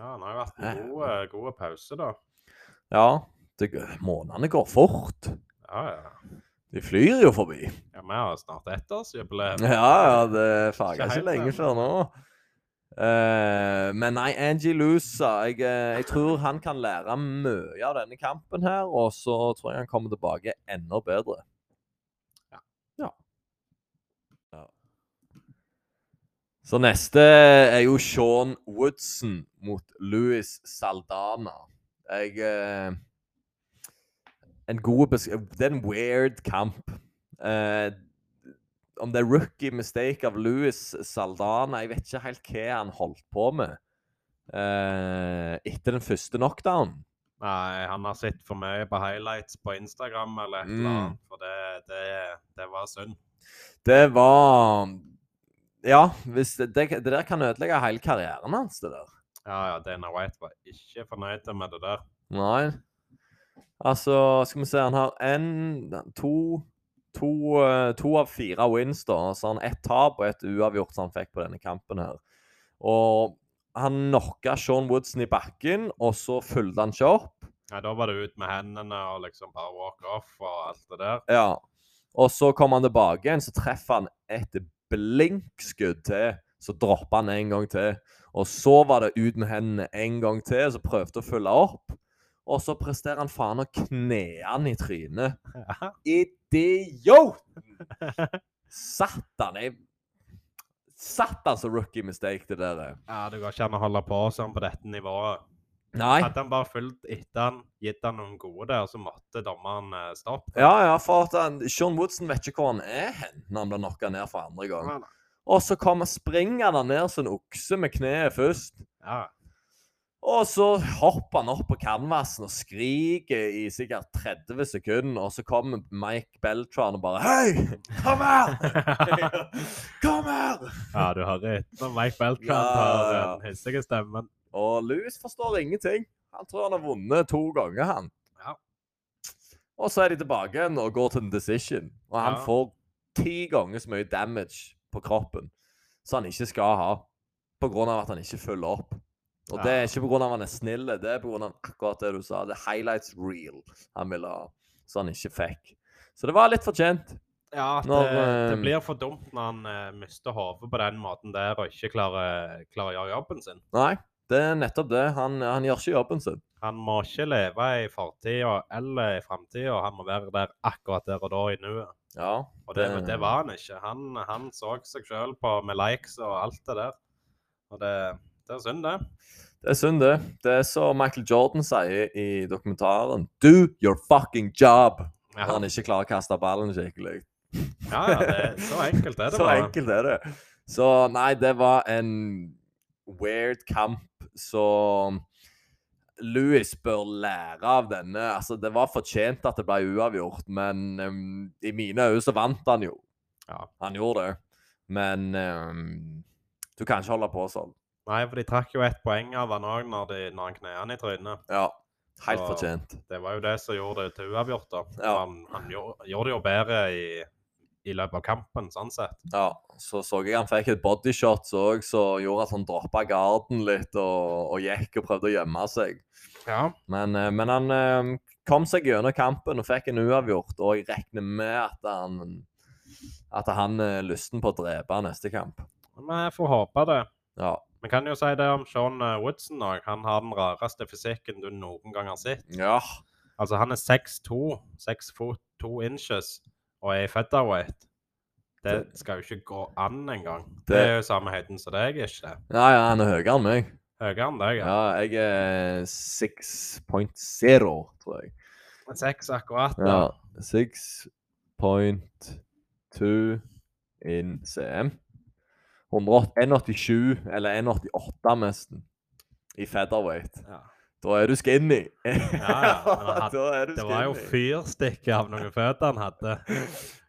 [SPEAKER 2] Ja, han har jo hatt en god, eh, god pause, da.
[SPEAKER 1] Ja, det, månedene går fort.
[SPEAKER 2] Ja, ja.
[SPEAKER 1] De flyr jo forbi.
[SPEAKER 2] ja vi har snart ettårsjubileum.
[SPEAKER 1] Ja, ja, det fager
[SPEAKER 2] Ikke
[SPEAKER 1] ikke
[SPEAKER 2] helt
[SPEAKER 1] lenge
[SPEAKER 2] ennå.
[SPEAKER 1] før nå. Eh, men nei, Angie Lusa jeg, eh, jeg tror han kan lære mye av denne kampen her, og så tror jeg han kommer tilbake enda bedre.
[SPEAKER 2] Ja.
[SPEAKER 1] Ja. ja. Så neste er jo Sean Woodson mot Louis Saldana. Jeg eh, En god besk... Det er en weird kamp. Eh, om det er rookie mistake av Louis Saldana Jeg vet ikke helt hva han holdt på med eh, etter den første knockdownen.
[SPEAKER 2] Nei, han har sett for mye på highlights på Instagram eller et eller
[SPEAKER 1] Mm.
[SPEAKER 2] annet, for det, det, det var synd.
[SPEAKER 1] Det var Ja, hvis det, det, det der kan ødelegge hele karrieren hans, det der.
[SPEAKER 2] Ja, ja, Dana White var ikke fornøyd med det der.
[SPEAKER 1] Nei. Altså, skal vi se Han har en, to To, eh, to av fire wins, da. Så han ett tap og ett uavgjort som han fikk på denne kampen her. Og han knocka Sean Woodson i bakken, og så fulgte han ikke opp.
[SPEAKER 2] Ja, da var det ut med hendene og liksom bare walk off og alt det der.
[SPEAKER 1] Ja. Og så kommer han tilbake igjen, så treffer han et blinkskudd til. Så dropper han en gang til. Og så var det ut med hendene en gang til, så prøvde å følge opp. Og så presterer han faen å kne han i trynet.
[SPEAKER 2] Ja.
[SPEAKER 1] Idiot! Satan, jeg Satan så rookie mistake det der er.
[SPEAKER 2] Ja, det går ikke an å holde på sånn på dette nivået.
[SPEAKER 1] Nei.
[SPEAKER 2] Hadde han bare fulgt etter han, gitt han noen gode der, så måtte dommeren eh, stoppe.
[SPEAKER 1] Ja, ja, for at han, Sean Woodson vet ikke hvor han er hen når han blir knocka ned for andre gang.
[SPEAKER 2] Ja,
[SPEAKER 1] Og så kommer springer han ned som en okse med kneet først.
[SPEAKER 2] ja.
[SPEAKER 1] Og så hopper han opp på canvasen og skriker i sikkert 30 sekunder, og så kommer Mike Beltran og bare Hei! Kom her! Kom her!
[SPEAKER 2] ja, du har rett. Når Mike Beltran
[SPEAKER 1] Ja,
[SPEAKER 2] tar
[SPEAKER 1] ja.
[SPEAKER 2] den hissige stemmen.
[SPEAKER 1] Og Louis forstår ingenting. Han tror han har vunnet to ganger, han.
[SPEAKER 2] Ja.
[SPEAKER 1] Og så er de tilbake igjen og går til en decision. Og han
[SPEAKER 2] Ja.
[SPEAKER 1] får ti ganger så mye damage på kroppen som han ikke skal ha, på grunn av at han ikke følger opp. Og det er
[SPEAKER 2] Ja.
[SPEAKER 1] ikke på grunn av at han er snill, det er på grunn av akkurat det du sa. Det er highlights real han ville ha, så han ikke fikk. Så det var litt fortjent.
[SPEAKER 2] Ja, det,
[SPEAKER 1] Når,
[SPEAKER 2] det
[SPEAKER 1] eh,
[SPEAKER 2] blir for dumt når han eh, mister hodet på den måten der og ikke klarer, klarer å gjøre jobben sin.
[SPEAKER 1] Nei, det er nettopp det. Han, han gjør ikke jobben sin.
[SPEAKER 2] Han må ikke leve i fortida eller i framtida, han må være der akkurat der og da i nuet.
[SPEAKER 1] Ja,
[SPEAKER 2] Og det,
[SPEAKER 1] Det-
[SPEAKER 2] det var han ikke. Han, han så seg sjøl på med likes og alt det der. Og det, det er synd, det.
[SPEAKER 1] det er synd, det. Det er som Michael Jordan sier i dokumentaren Do your fucking job! Når
[SPEAKER 2] Ja,
[SPEAKER 1] han ikke klarer å kaste ballen skikkelig.
[SPEAKER 2] ja, ja det, så enkelt er det
[SPEAKER 1] Så
[SPEAKER 2] bare.
[SPEAKER 1] enkelt er det. Så nei, det var en weird kamp, så Louis bør lære av denne. Altså, det var fortjent at det ble uavgjort, men ehm, i mine øyne så vant han jo.
[SPEAKER 2] Ja.
[SPEAKER 1] Han gjorde det. Men ehm, du kan ikke holde på sånn.
[SPEAKER 2] Nei, for de trakk jo ett poeng av han òg når, de- når han knea han i trynet.
[SPEAKER 1] Ja. Helt
[SPEAKER 2] Så-
[SPEAKER 1] fortjent.
[SPEAKER 2] Det var jo det som gjorde det til uavgjort. da.
[SPEAKER 1] Ja.
[SPEAKER 2] Han, han gjorde, gjorde det jo bedre i, i løpet av kampen, sånn sett.
[SPEAKER 1] Ja, så så jeg han fikk et bodyshot òg, som gjorde at han droppa garden litt og, og gikk og prøvde å gjemme seg.
[SPEAKER 2] Ja.
[SPEAKER 1] Men, eh, men han eh, kom seg gjennom kampen og fikk en uavgjort, og jeg regner med at han at han er lysten på å drepe neste kamp.
[SPEAKER 2] Men jeg får håpe det.
[SPEAKER 1] Ja,
[SPEAKER 2] Vi kan jo si det om Sean eh, Woodson òg. Han har den rareste fysikken du noen gang har sett.
[SPEAKER 1] ja,
[SPEAKER 2] Altså, han er 6'2, 6 fot 2 inches, og er i featherweight. Det
[SPEAKER 1] Det-
[SPEAKER 2] skal jo ikke gå an engang.
[SPEAKER 1] Det-
[SPEAKER 2] Det er jo samme høyden som deg, ikke det?
[SPEAKER 1] ja, ja han er høyere enn meg.
[SPEAKER 2] Høyere enn deg, ja.
[SPEAKER 1] Ja, jeg er 6.0, tror jeg.
[SPEAKER 2] Seks akkurat.
[SPEAKER 1] Ja,
[SPEAKER 2] da.
[SPEAKER 1] 6.2 in CM. 187, eller 188 nesten, i featherweight.
[SPEAKER 2] Ja.
[SPEAKER 1] Da er du skinny.
[SPEAKER 2] ja, men han had-
[SPEAKER 1] da er du
[SPEAKER 2] Det var jo
[SPEAKER 1] skinny.
[SPEAKER 2] fyrstikke av noen føtter han hadde.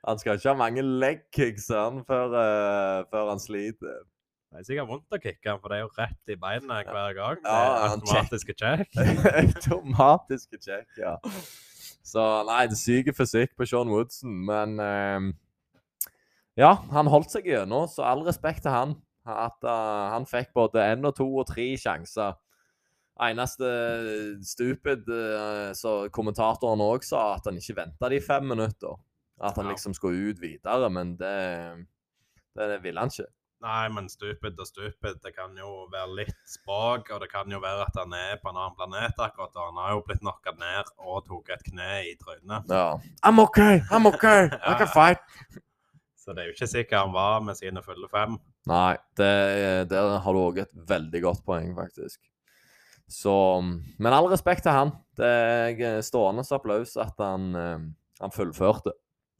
[SPEAKER 1] Han skal ikke ha mange leg kicks han, før, eh, før han sliter.
[SPEAKER 2] Det er sikkert vondt å kicke han, for det er jo rett i beinet hver gang. Det
[SPEAKER 1] Ja,
[SPEAKER 2] er
[SPEAKER 1] han
[SPEAKER 2] automatiske check.
[SPEAKER 1] Automatiske check, ja. Så nei, det syker fysikk på Sean Woodson, men ehm, Ja, han holdt seg gjennom, så all respekt til han. At eh, han fikk både én og to og tre sjanser. Eneste stupid eh, så kommentatoren òg sa, at han ikke venta de fem minutter. At han
[SPEAKER 2] Ja.
[SPEAKER 1] liksom skulle ut videre, men det, det ville han ikke.
[SPEAKER 2] Nei, men stupid og stupid. Det kan jo være litt språk, og det kan jo være at han er på en annen planet akkurat. Og han har jo blitt knocka ned og tatt et kne i trynet.
[SPEAKER 1] Ja. I'm okay, I'm okay, I can fight.
[SPEAKER 2] Så det er jo ikke sikkert han var med sine fulle fem.
[SPEAKER 1] Nei, det, der har du òg et veldig godt poeng, faktisk. Så um, Men all respekt til han. Det er eh, stående så applaus at han, eh, han fullførte.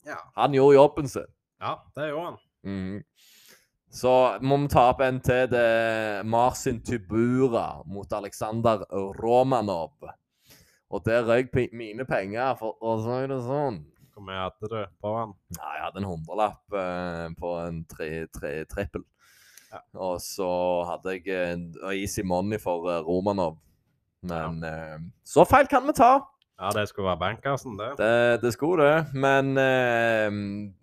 [SPEAKER 2] Ja.
[SPEAKER 1] Han gjorde jobben sin.
[SPEAKER 2] ja, det gjorde han.
[SPEAKER 1] Mhm. Så må vi ta opp en til. Det er Marcin Tybura mot Aleksandr Romanov. Og der røyk pe- mine penger, for å si det sånn.
[SPEAKER 2] Hvor mye hadde du på han?
[SPEAKER 1] Nei, jeg hadde en hundrelapp eh, på en tre, tre, trippel.
[SPEAKER 2] Ja.
[SPEAKER 1] Og så hadde jeg en og easy money for eh, Romanov. Men eh, så feil kan vi ta.
[SPEAKER 2] Ja, det skulle være bankersen, det.
[SPEAKER 1] Det, det skulle det. Men eh,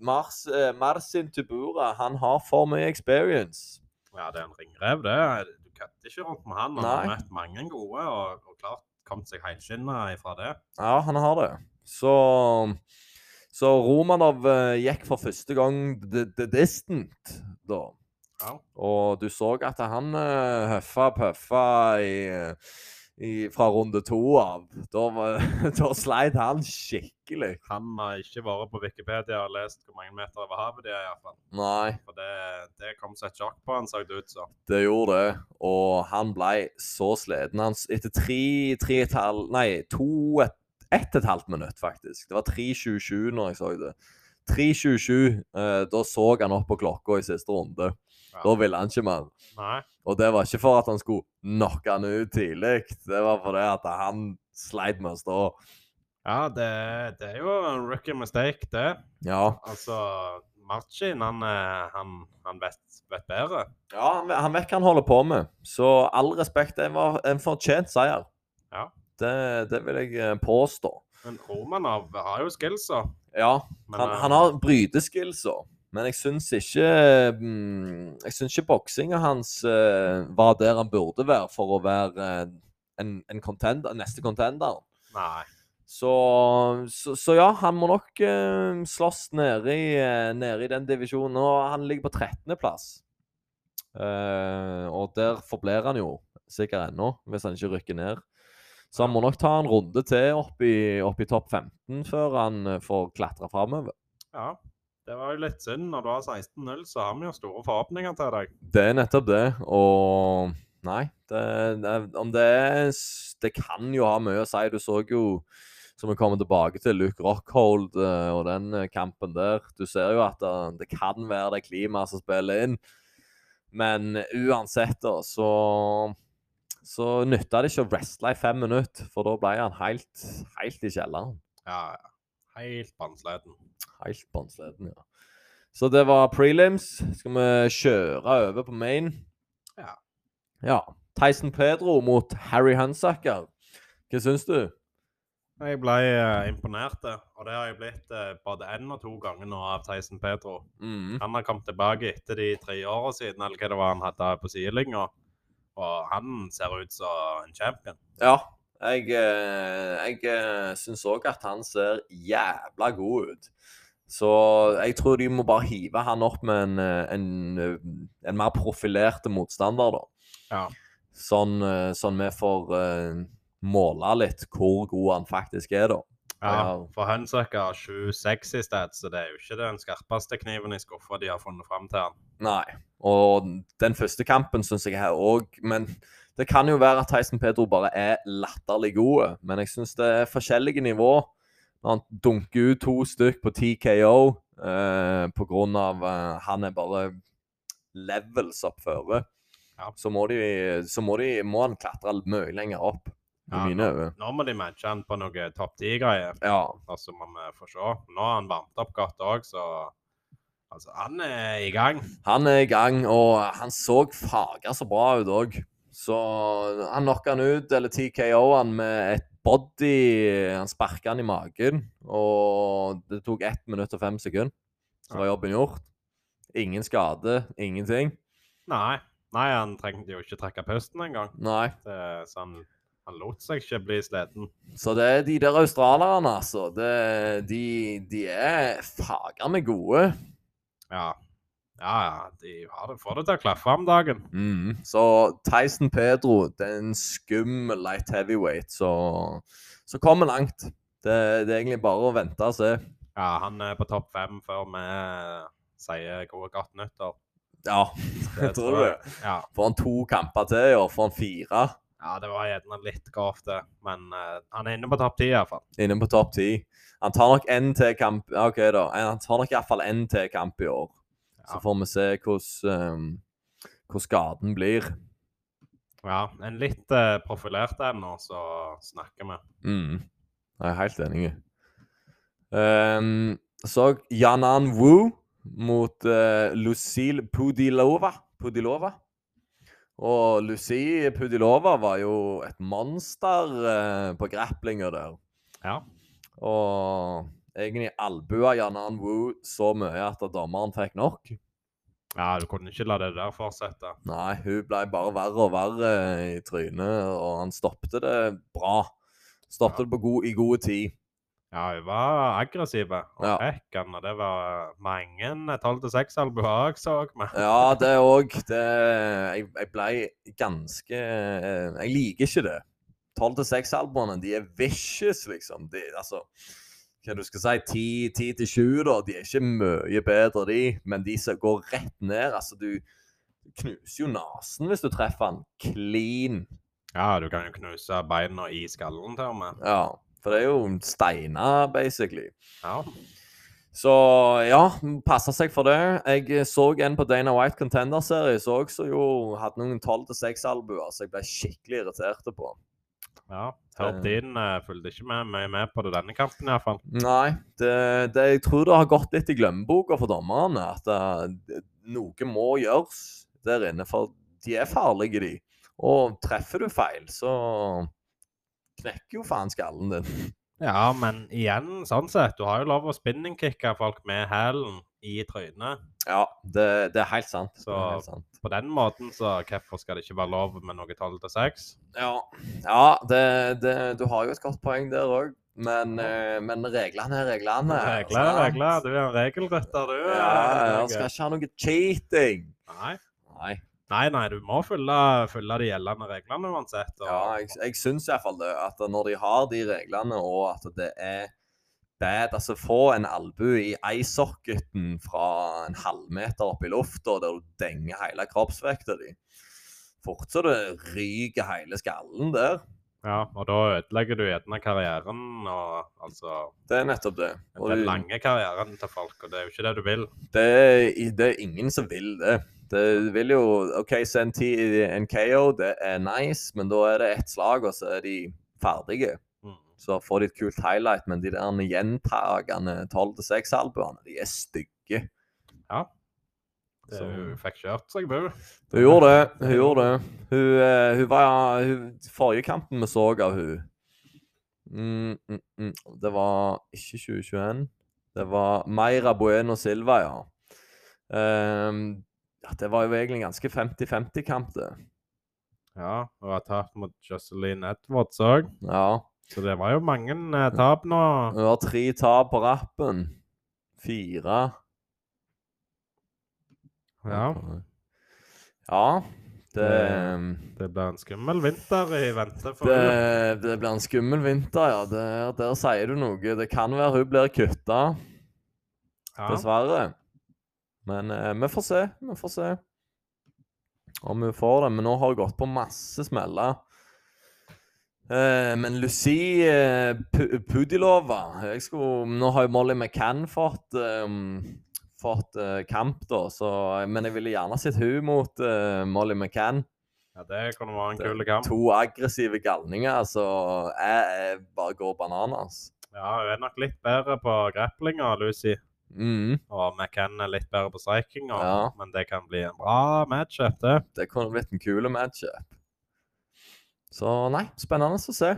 [SPEAKER 1] Mars, eh, Marcin Tubura, han har for mye experience.
[SPEAKER 2] Ja, det er en ringrev, det. Du kødder ikke rundt med han. Han har
[SPEAKER 1] Nei.
[SPEAKER 2] møtt mange gode, og, og klart kommet seg helskinna ifra det.
[SPEAKER 1] Ja, han har det. Så, så Romanov eh, gikk for første gang the, the distant, da.
[SPEAKER 2] Ja.
[SPEAKER 1] Og du så at han eh, høffa pøffa i, i, fra runde to av. Da, var- da sleit han skikkelig.
[SPEAKER 2] Han har ikke vært på Wikipedia og lest hvor mange meter over havet de er, iallfall.
[SPEAKER 1] Nei,
[SPEAKER 2] For det, det kom som et sjokk på han, så det ut som.
[SPEAKER 1] det gjorde det. Og han ble så sliten. Han, s- etter tre, tre et halv, nei, to, et, ett og et halvt minutt, faktisk. Det var 3.27 når jeg så det. 3.27, eh, da så han opp på klokka i siste runde.
[SPEAKER 2] Ja.
[SPEAKER 1] Da ville han ikke mer.
[SPEAKER 2] Nei.
[SPEAKER 1] Og det var ikke for at han skulle knocke han ut tidlig. Det var fordi at han sleit med å stå.
[SPEAKER 2] Ja, det, det er jo en rookie mistake, det.
[SPEAKER 1] Ja,
[SPEAKER 2] Altså, Marcin, han, eh, han, han vet, vet bedre.
[SPEAKER 1] ja han, han vet hva han holder på med. Så all respekt, det var en fortjent seier.
[SPEAKER 2] Ja.
[SPEAKER 1] Det, det vil jeg eh, påstå.
[SPEAKER 2] Men Romanov har jo skillsa.
[SPEAKER 1] Ja,
[SPEAKER 2] Men,
[SPEAKER 1] han,
[SPEAKER 2] eh,
[SPEAKER 1] han har bryteskillser. Men jeg syns ikke mm, Jeg syns ikke boksinga hans eh, var der han burde være for å være eh, en, en contender, neste contender.
[SPEAKER 2] Nei.
[SPEAKER 1] Så, så, så ja, han må nok eh, slåss nede i, eh, nede i den divisjonen. Og han ligger på 13.-plass. og der forblir han jo sikkert ennå, hvis han ikke rykker ned. Så han må nok ta en runde til opp i, opp i topp 15 før han eh, får klatre framover.
[SPEAKER 2] Ja. Det var jo litt synd. Når du har 16-0, så har vi jo store forhåpninger til deg.
[SPEAKER 1] Det er nettopp det, og Nei. Det, det, om det er s- Det kan jo ha mye å si. Du så jo, som vi kommer tilbake til, Luke Rockhold eh, og den eh, kampen der. Du ser jo at eh, det kan være det klimaet som spiller inn. Men uansett, da, så så nytta det ikke å wrestle i fem minutter, for da ble han helt, helt i kjelleren.
[SPEAKER 2] Ja, ja. Helt bannsleden.
[SPEAKER 1] Helt bånnsleden, ja. Så det var prelims. Skal vi kjøre over på main?
[SPEAKER 2] Ja.
[SPEAKER 1] Ja. Tyson Pedro mot Harry Hunsaker. Hva syns du?
[SPEAKER 2] Jeg ble eh, imponert, det. og det har jeg blitt eh, både én og to ganger nå av Theisen Pedro.
[SPEAKER 1] Mhm.
[SPEAKER 2] Han har kommet tilbake etter de tre åra siden, eller hva det var han hadde på sidelinja. Og han ser ut som en champion.
[SPEAKER 1] Ja. Jeg, eh, jeg eh, syns òg at han ser jævla god ut. Så jeg tror de må bare hive han opp med en, eh, en, eh, en mer profilerte motstander, da.
[SPEAKER 2] Ja.
[SPEAKER 1] Sånn, eh, sånn vi får eh, måle litt hvor god han faktisk er, da.
[SPEAKER 2] Ja,
[SPEAKER 1] Ja.
[SPEAKER 2] for Hunsucker har 7-6 i sted, så det er jo ikke den skarpeste kniven i skuffa de har funnet fram til han.
[SPEAKER 1] Nei. Og den første kampen syns jeg her òg Men det kan jo være at Tyson Pedro bare er latterlig god. Men jeg syns det er forskjellige nivå. Når han dunker ut to stykk på TKO eh, på grunn av eh, han er bare levels opp føre,
[SPEAKER 2] Ja.
[SPEAKER 1] så, må de, så må, de, må han klatre mye lenger opp. I
[SPEAKER 2] Ja,
[SPEAKER 1] mine øyne.
[SPEAKER 2] Nå må de matche han på noe topp 10-greier,
[SPEAKER 1] Ja.
[SPEAKER 2] og så må vi få se. Nå har han varmt opp godt òg, så Altså, han er i gang.
[SPEAKER 1] Han er i gang, og han så faga så bra ut òg. Så han knocka han ut, eller TKO han med et body Han sparka han i magen, og det tok 1 minutt og 5 sekunder. Så var jobben gjort. Ingen skade, ingenting.
[SPEAKER 2] Nei, Nei han trengte jo ikke trekke pusten engang.
[SPEAKER 1] Nei.
[SPEAKER 2] Det- Så han, han lot seg ikke bli sliten.
[SPEAKER 1] Så det er de der australierne, altså. Det, de, de er faga meg gode.
[SPEAKER 2] Ja, ja, ja de har det, får det til å klaffe om dagen.
[SPEAKER 1] Mm. Så Tyson Pedro, det er en skummel light heavyweight, så, så kommer langt. Det, det er egentlig bare å vente og se.
[SPEAKER 2] Ja, han er på topp fem før vi eh, sier gode godt nyttår.
[SPEAKER 1] Ja,
[SPEAKER 2] Det
[SPEAKER 1] tror du det?
[SPEAKER 2] Ja.
[SPEAKER 1] Får han to kamper til i år, får han fire
[SPEAKER 2] ja, det var gjerne litt grovt, det. Men eh, han er inne på topp ti, iallfall.
[SPEAKER 1] inne på topp ti. Han tar nok én til kamp ja, OK, da. Eh, Han tar nok iallfall én til kamp i år.
[SPEAKER 2] Ja.
[SPEAKER 1] Så får vi se hvordan um, hvor skaden blir.
[SPEAKER 2] Ja, en litt eh, profilert en nå, så snakker vi.
[SPEAKER 1] Mm. Jeg er helt enig. Um, så Janan Wu mot eh, Lucille Pudilova. Pudilova. Og Lucie Pudilova var jo et monster eh, på grapplinga der.
[SPEAKER 2] Ja.
[SPEAKER 1] Og egentlig albua Janan Wu så mye at dommeren fikk nok.
[SPEAKER 2] ja, du kunne ikke la det der fortsette.
[SPEAKER 1] Nei, hun ble bare verre og verre i trynet, og han stoppte det bra. Stoppte
[SPEAKER 2] Ja.
[SPEAKER 1] det på god, i god tid.
[SPEAKER 2] Ja, hun var aggressiv. Og
[SPEAKER 1] Ja.
[SPEAKER 2] fikk han, og det var eh, mange 12-6-albuer jeg så med.
[SPEAKER 1] Ja, det òg. Det Jeg, jeg blei ganske eh, Jeg liker ikke det. 12-6-albuene, de er vicious, liksom. De, altså Hva du skal si 10-7, da. De er ikke mye bedre, de, men de som går rett ned Altså, du knuser jo nesen hvis du treffer den clean.
[SPEAKER 2] Ja, du kan jo knuse beina i skallen til og med.
[SPEAKER 1] Ja. For det er jo steiner, basically.
[SPEAKER 2] Ja.
[SPEAKER 1] Så ja, passa seg for det. Jeg så en på Dana White Contender Series òg som jo hadde noen 12-6-albuer som jeg ble skikkelig irritert på.
[SPEAKER 2] ja. Herb Dean eh, fulgte ikke med, mye med på det denne kampen, iallfall.
[SPEAKER 1] Nei, det, det, jeg tror det har gått litt i glemmeboka for dommerne. At eh, noe må gjøres der inne, for de er farlige, de. Og treffer du feil, så knekker jo faen skallen din.
[SPEAKER 2] Ja, men igjen, sånn sett. Du har jo lov å spinningkicke folk med hælen i trynet.
[SPEAKER 1] Ja, det, det er helt sant. Det
[SPEAKER 2] Så-
[SPEAKER 1] er helt sant.
[SPEAKER 2] På den måten, så hvorfor skal det ikke være lov med noe tolv til seks?
[SPEAKER 1] Ja, ja det, det, du har jo et godt poeng der òg. Men, eh, men reglene er reglene.
[SPEAKER 2] Regler,
[SPEAKER 1] altså, sant?
[SPEAKER 2] regler. Du er en regelrytter, du.
[SPEAKER 1] Ja, jeg skal ikke ha noe cheating.
[SPEAKER 2] Nei.
[SPEAKER 1] Nei,
[SPEAKER 2] nei, nei, du må følge, følge de gjeldende reglene uansett. Og,
[SPEAKER 1] ja, jeg, jeg syns iallfall det. At når de har de reglene, og at det er bad Altså, få en albue i eyesocketen fra en halvmeter opp i lufta, der du denger hele kroppsvekta di. Fort så det ryker hele skallen der.
[SPEAKER 2] ja, og da ødelegger du gjerne karrieren og altså
[SPEAKER 1] Det er nettopp det. Og
[SPEAKER 2] Den
[SPEAKER 1] du-
[SPEAKER 2] lange karrieren til folk, og det er jo ikke det du vil.
[SPEAKER 1] Det er, det er ingen som vil det. Det vil jo OK, så en, ti, en KO det er nice, men da er det ett slag, og så er de ferdige.
[SPEAKER 2] Mm.
[SPEAKER 1] Så får de et kult highlight, men de der gjentagende 12-6-albuene, de er stygge.
[SPEAKER 2] Det
[SPEAKER 1] Så-
[SPEAKER 2] er jo fikk kjørt seg, bu.
[SPEAKER 1] Hun gjorde det. Hun gjorde det. Hun, eh, hun var hun, Forrige kampen vi så av hun mm, mm, mm, Det var ikke 2021. Det var Meira Bueno Silva, ja. Ehm, ja, det var jo egentlig en ganske 50-50-kamp, det.
[SPEAKER 2] Ja, og har tapt mot Jocelyn Edwards òg.
[SPEAKER 1] Ja.
[SPEAKER 2] Så det var jo mange eh, tap nå.
[SPEAKER 1] Hun har tre tap på rappen. Fire.
[SPEAKER 2] Ja,
[SPEAKER 1] Ja. Det, ehm,
[SPEAKER 2] det blir en skummel vinter i vente for
[SPEAKER 1] det,
[SPEAKER 2] henne.
[SPEAKER 1] det blir en skummel vinter, ja. Der, der sier du noe. Det kan være hun blir kutta.
[SPEAKER 2] Ja.
[SPEAKER 1] dessverre. Men eh, vi får se. Vi får se om hun får det. Men nå har hun gått på masse smeller. Eh, men Lucy eh, Pu- Pudilova jeg skulle, Nå har jo Molly McCann fått, eh, fått eh, kamp, da. Så, eh, men jeg ville gjerne sett hun mot eh, Molly McCann.
[SPEAKER 2] ja, det kunne vært en
[SPEAKER 1] Det-
[SPEAKER 2] kul kamp.
[SPEAKER 1] To aggressive galninger, så jeg, jeg bare går bananas.
[SPEAKER 2] Ja, hun er nok litt bedre på grapplinga, Lucy.
[SPEAKER 1] Mm,
[SPEAKER 2] Og McCann er litt bedre på strikinga,
[SPEAKER 1] Ja.
[SPEAKER 2] men det kan bli en bra matchup, det.
[SPEAKER 1] det kunne blitt en kule matchup. Så nei, spennende å se.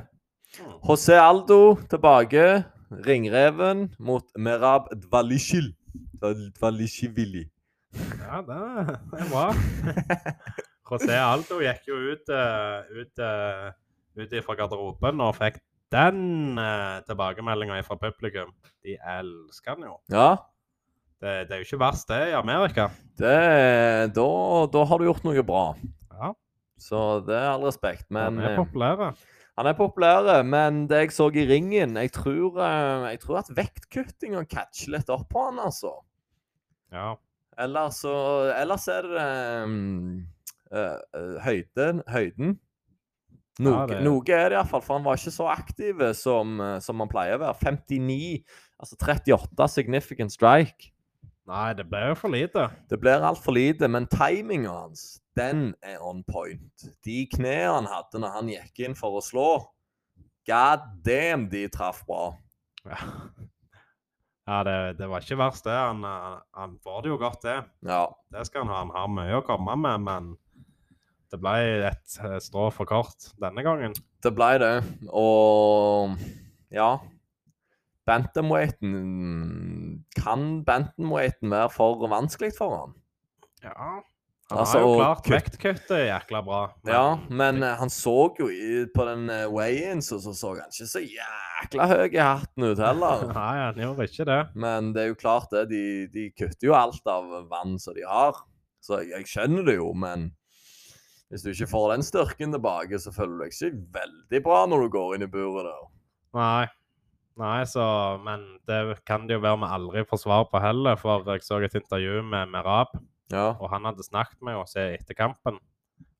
[SPEAKER 2] Mm.
[SPEAKER 1] José Aldo tilbake. Ringreven mot Merab Dvalishil. Dval- Dvalishivili.
[SPEAKER 2] Ja, det det er bra. José Aldo gikk jo ut, eh, ut, eh, ut fra garderoben og fikk den uh, tilbakemeldinga fra publikum. De elsker han jo.
[SPEAKER 1] Ja,
[SPEAKER 2] Det, det er jo ikke verst, det, i Amerika.
[SPEAKER 1] det, da, da har du gjort noe bra.
[SPEAKER 2] Ja,
[SPEAKER 1] Så det er all respekt. Men
[SPEAKER 2] Han er populære.
[SPEAKER 1] eh, han er populær, men det jeg så i ringen Jeg tror, eh, jeg tror at vektkuttinga catcher litt opp på han, altså.
[SPEAKER 2] Ja.
[SPEAKER 1] Ellers så Ellers er det ehm, eh, eh, høyden. høyden. Noe,
[SPEAKER 2] Ja, det-
[SPEAKER 1] noe er det iallfall, for han var ikke så aktiv som, eh, som han pleier å være. 59, altså 38 significant strike.
[SPEAKER 2] Nei, det ble jo for lite.
[SPEAKER 1] Det blir altfor lite, men timinga hans, den er on point. De knærne han hadde når han gikk inn for å slå, god damn, de traff bra.
[SPEAKER 2] Ja, ja det, det var ikke verst, det. Han, eh, han får det jo godt, det.
[SPEAKER 1] Ja.
[SPEAKER 2] Det skal han ha. Han har mye å komme med, men det ble et eh, strå for kort denne gangen.
[SPEAKER 1] Det ble det. Og ja Bantamweighten Kan bantamweighten være for vanskelig for han?
[SPEAKER 2] Ja. Han
[SPEAKER 1] Altså,
[SPEAKER 2] har jo
[SPEAKER 1] og
[SPEAKER 2] klart
[SPEAKER 1] kutt-
[SPEAKER 2] vektkuttet jækla bra. men
[SPEAKER 1] Ja, men eh, han så jo i, på den eh, weigh-in, så, så så han ikke så jækla høy i hatten ut heller.
[SPEAKER 2] Nei, han gjorde ikke det.
[SPEAKER 1] Men det er jo klart det, de, de kutter jo alt av vann som de har. Så jeg, jeg skjønner det jo, men hvis du ikke får den styrken tilbake, så føler du deg ikke veldig bra når du går inn i buret der.
[SPEAKER 2] Nei. Nei, så, Men det kan det jo være vi aldri får svar på heller, for jeg så et intervju med Merab,
[SPEAKER 1] Ja.
[SPEAKER 2] og han hadde snakket med oss etter kampen.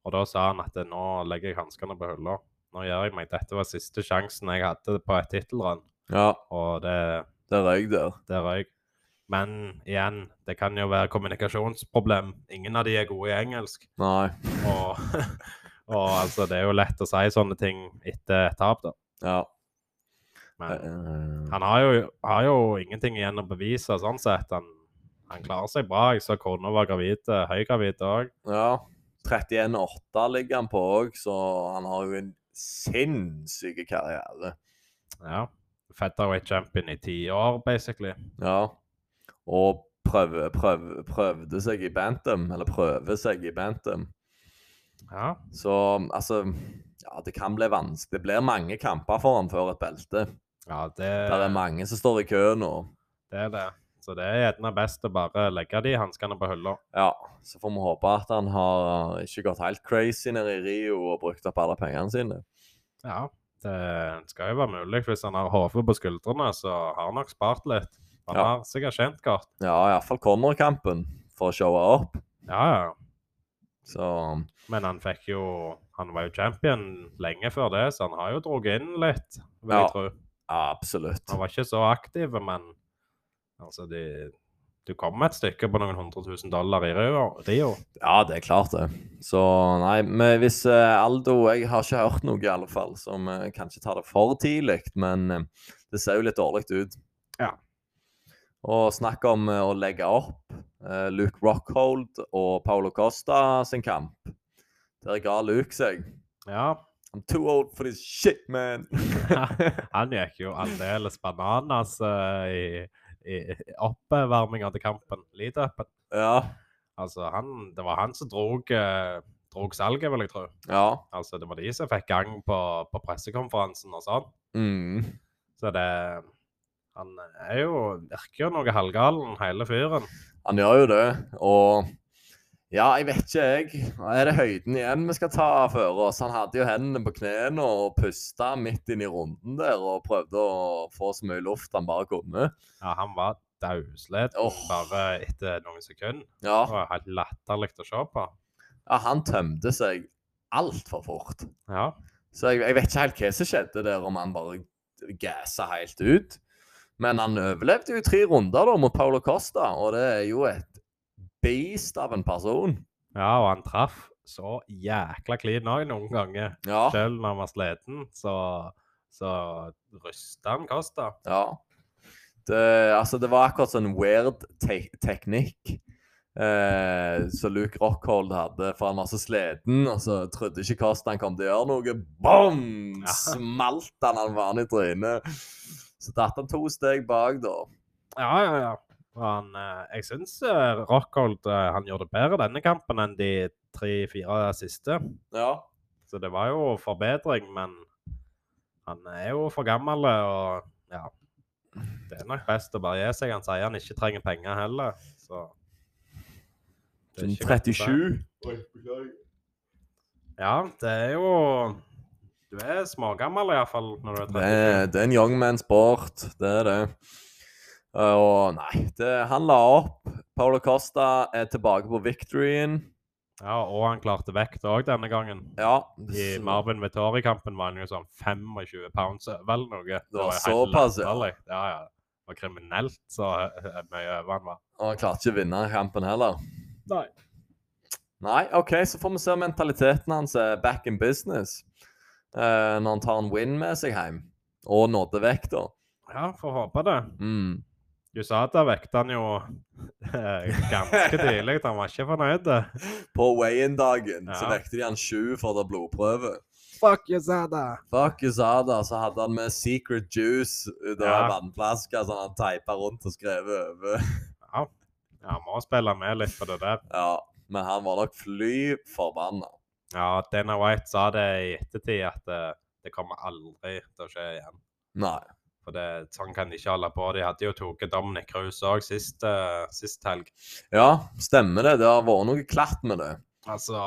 [SPEAKER 2] Og da sa han at nå legger jeg hanskene på hylla. Nå gjør jeg meg. Dette var siste sjansen jeg hadde på et tittelrun,
[SPEAKER 1] ja.
[SPEAKER 2] og det,
[SPEAKER 1] Det røyk der.
[SPEAKER 2] det røyk. Men igjen, det kan jo være kommunikasjonsproblem. Ingen av de er gode i engelsk.
[SPEAKER 1] Nei.
[SPEAKER 2] Og, og altså, det er jo lett å si sånne ting etter et tap, da.
[SPEAKER 1] Ja.
[SPEAKER 2] Men
[SPEAKER 1] Eh,
[SPEAKER 2] han har jo, har jo ingenting igjen å bevise, sånn sett. Han, han klarer seg bra. Jeg så kona var gravid, eh, høygravid òg.
[SPEAKER 1] Ja. 31,8 ligger han på òg, så han har jo en sinnssyk karriere.
[SPEAKER 2] Ja. Featherweight champion i ti år, basically.
[SPEAKER 1] Ja. Og prøve, prøve, prøvde seg i Bantam, eller prøver seg i Bantam.
[SPEAKER 2] Ja.
[SPEAKER 1] Så altså Ja, det kan bli vanskelig. Det blir mange kamper for han før et belte.
[SPEAKER 2] ja det,
[SPEAKER 1] Der er mange som står i kø nå.
[SPEAKER 2] det er det. Så det er gjerne best å bare legge de hanskene på hylla.
[SPEAKER 1] Ja, så får vi håpe at han har eh, ikke gått helt crazy nede i Rio og brukt opp alle pengene sine.
[SPEAKER 2] Ja. Det skal jo være mulig. Hvis han har hodet på skuldrene, så har han nok spart litt. Han
[SPEAKER 1] Ja.
[SPEAKER 2] har sikkert tjent godt.
[SPEAKER 1] Ja, iallfall Connor-kampen, for å showe opp.
[SPEAKER 2] Ja, ja.
[SPEAKER 1] Så
[SPEAKER 2] Men han fikk jo Han var jo champion lenge før det, så han har jo drukket inn litt, vil
[SPEAKER 1] Ja.
[SPEAKER 2] jeg tro.
[SPEAKER 1] Absolutt.
[SPEAKER 2] Han var ikke så aktiv, men altså de Du kommer et stykke på noen hundre tusen dollar i Rio. Rio.
[SPEAKER 1] Ja, det er klart det. Så nei, men hvis eh, Aldo Jeg har ikke hørt noe i alle fall som eh, kanskje tar det for tidlig, men eh, det ser jo litt dårlig ut.
[SPEAKER 2] Ja.
[SPEAKER 1] Og snakk om eh, å legge opp eh, Luke Rockhold og Paolo Costa sin kamp. Der ga Luke seg.
[SPEAKER 2] Ja,
[SPEAKER 1] I'm too old for this shit, man!
[SPEAKER 2] han gikk jo aldeles bananas eh, i, i i oppvarminga til kampen. Lead-upen.
[SPEAKER 1] ja.
[SPEAKER 2] Altså, han, det var han som drog, eh, drog salget, vil jeg tro.
[SPEAKER 1] ja.
[SPEAKER 2] Altså, det var de som fikk gang på, på pressekonferansen og sånn.
[SPEAKER 1] Mm.
[SPEAKER 2] Så det Han er jo Virker jo noe halvgalen, hele fyren.
[SPEAKER 1] Han gjør jo det, og ja, jeg vet ikke, jeg. Er det høyden igjen vi skal ta for oss? Han hadde jo hendene på knærne og pusta midt inn i runden der og prøvde å få så mye luft han bare kunne.
[SPEAKER 2] Ja, han var dauslett
[SPEAKER 1] Åh. Ah.
[SPEAKER 2] bare etter noen sekunder.
[SPEAKER 1] Ja,
[SPEAKER 2] Det var helt latterlig å se på.
[SPEAKER 1] ja han tømte seg altfor fort.
[SPEAKER 2] Ja.
[SPEAKER 1] Så jeg, jeg vet ikke helt hva som skjedde der, om han bare gassa helt ut. Men han overlevde jo tre runder da mot Paulo Costa, og det er jo et beast av en person.
[SPEAKER 2] ja, og han traff så jækla clean òg noen ganger.
[SPEAKER 1] Ja,
[SPEAKER 2] Selv når han var sliten, så, så rysta han Costa.
[SPEAKER 1] Ja. Det, altså, det var akkurat sånn weird te teknikk eh, som Luke Rockhold hadde, for han var så sliten, og så trodde ikke Kost han kom til å gjøre noe. Bom!
[SPEAKER 2] Ja.
[SPEAKER 1] Smalt han han var i trynet. Så datt han to steg bak, da.
[SPEAKER 2] Ja, ja, ja. Og han, eh, jeg syns Rockhold eh, han gjorde det bedre denne kampen enn de tre-fire siste.
[SPEAKER 1] Ja.
[SPEAKER 2] Så det var jo forbedring, men han er jo for gammel, eh, og ja Det er nok best å bare gi seg. Han sier han ikke trenger penger heller, så Det er
[SPEAKER 1] Sånn
[SPEAKER 2] ikke godt å si.
[SPEAKER 1] 37.
[SPEAKER 2] Ja, det er jo Du er smågammel iallfall når du er
[SPEAKER 1] Det
[SPEAKER 2] 37.
[SPEAKER 1] er, det er en young man sport, det er det. Eh, Og nei, det, han la opp. Paolo Costa er tilbake på victoryen.
[SPEAKER 2] Ja, og han klarte vekt òg denne gangen.
[SPEAKER 1] Ja.
[SPEAKER 2] I Marvin Vettori-kampen var han jo sånn 25 pounds over eller noe. Det
[SPEAKER 1] var
[SPEAKER 2] jo helt
[SPEAKER 1] såpass, ja.
[SPEAKER 2] latterlig. Ja, ja. Det var kriminelt så eh, mye over han var.
[SPEAKER 1] Og han klarte ikke å vinne kampen heller.
[SPEAKER 2] Nei.
[SPEAKER 1] Nei, OK, så får vi se om mentaliteten hans er back in business eh, når han tar en win med seg hjem. Og nådde vekk, da.
[SPEAKER 2] Ja, får håpe det.
[SPEAKER 1] Mm.
[SPEAKER 2] Usada vekte han jo eh, ganske tidlig. Han var ikke fornøyd.
[SPEAKER 1] På weigh-in-dagen så
[SPEAKER 2] Ja.
[SPEAKER 1] vekte de han sju for å ta blodprøve.
[SPEAKER 2] Fuck Usada!
[SPEAKER 1] Fuck Usada, så hadde han med secret juice ut av
[SPEAKER 2] Ja.
[SPEAKER 1] ei vannflaske som han teipa rundt og skrev over.
[SPEAKER 2] Ja, ja må spille med litt på det der.
[SPEAKER 1] Ja, men han var nok fly forbanna.
[SPEAKER 2] Ja, Dana White sa det i ettertid, at eh, det kommer aldri til å skje igjen.
[SPEAKER 1] Nei.
[SPEAKER 2] For det, sånn kan de ikke holde på. De hadde jo tatt Dominic Kruse òg sist, eh, sist helg.
[SPEAKER 1] Ja, stemmer det. Det har vært noe klatt med det.
[SPEAKER 2] Altså,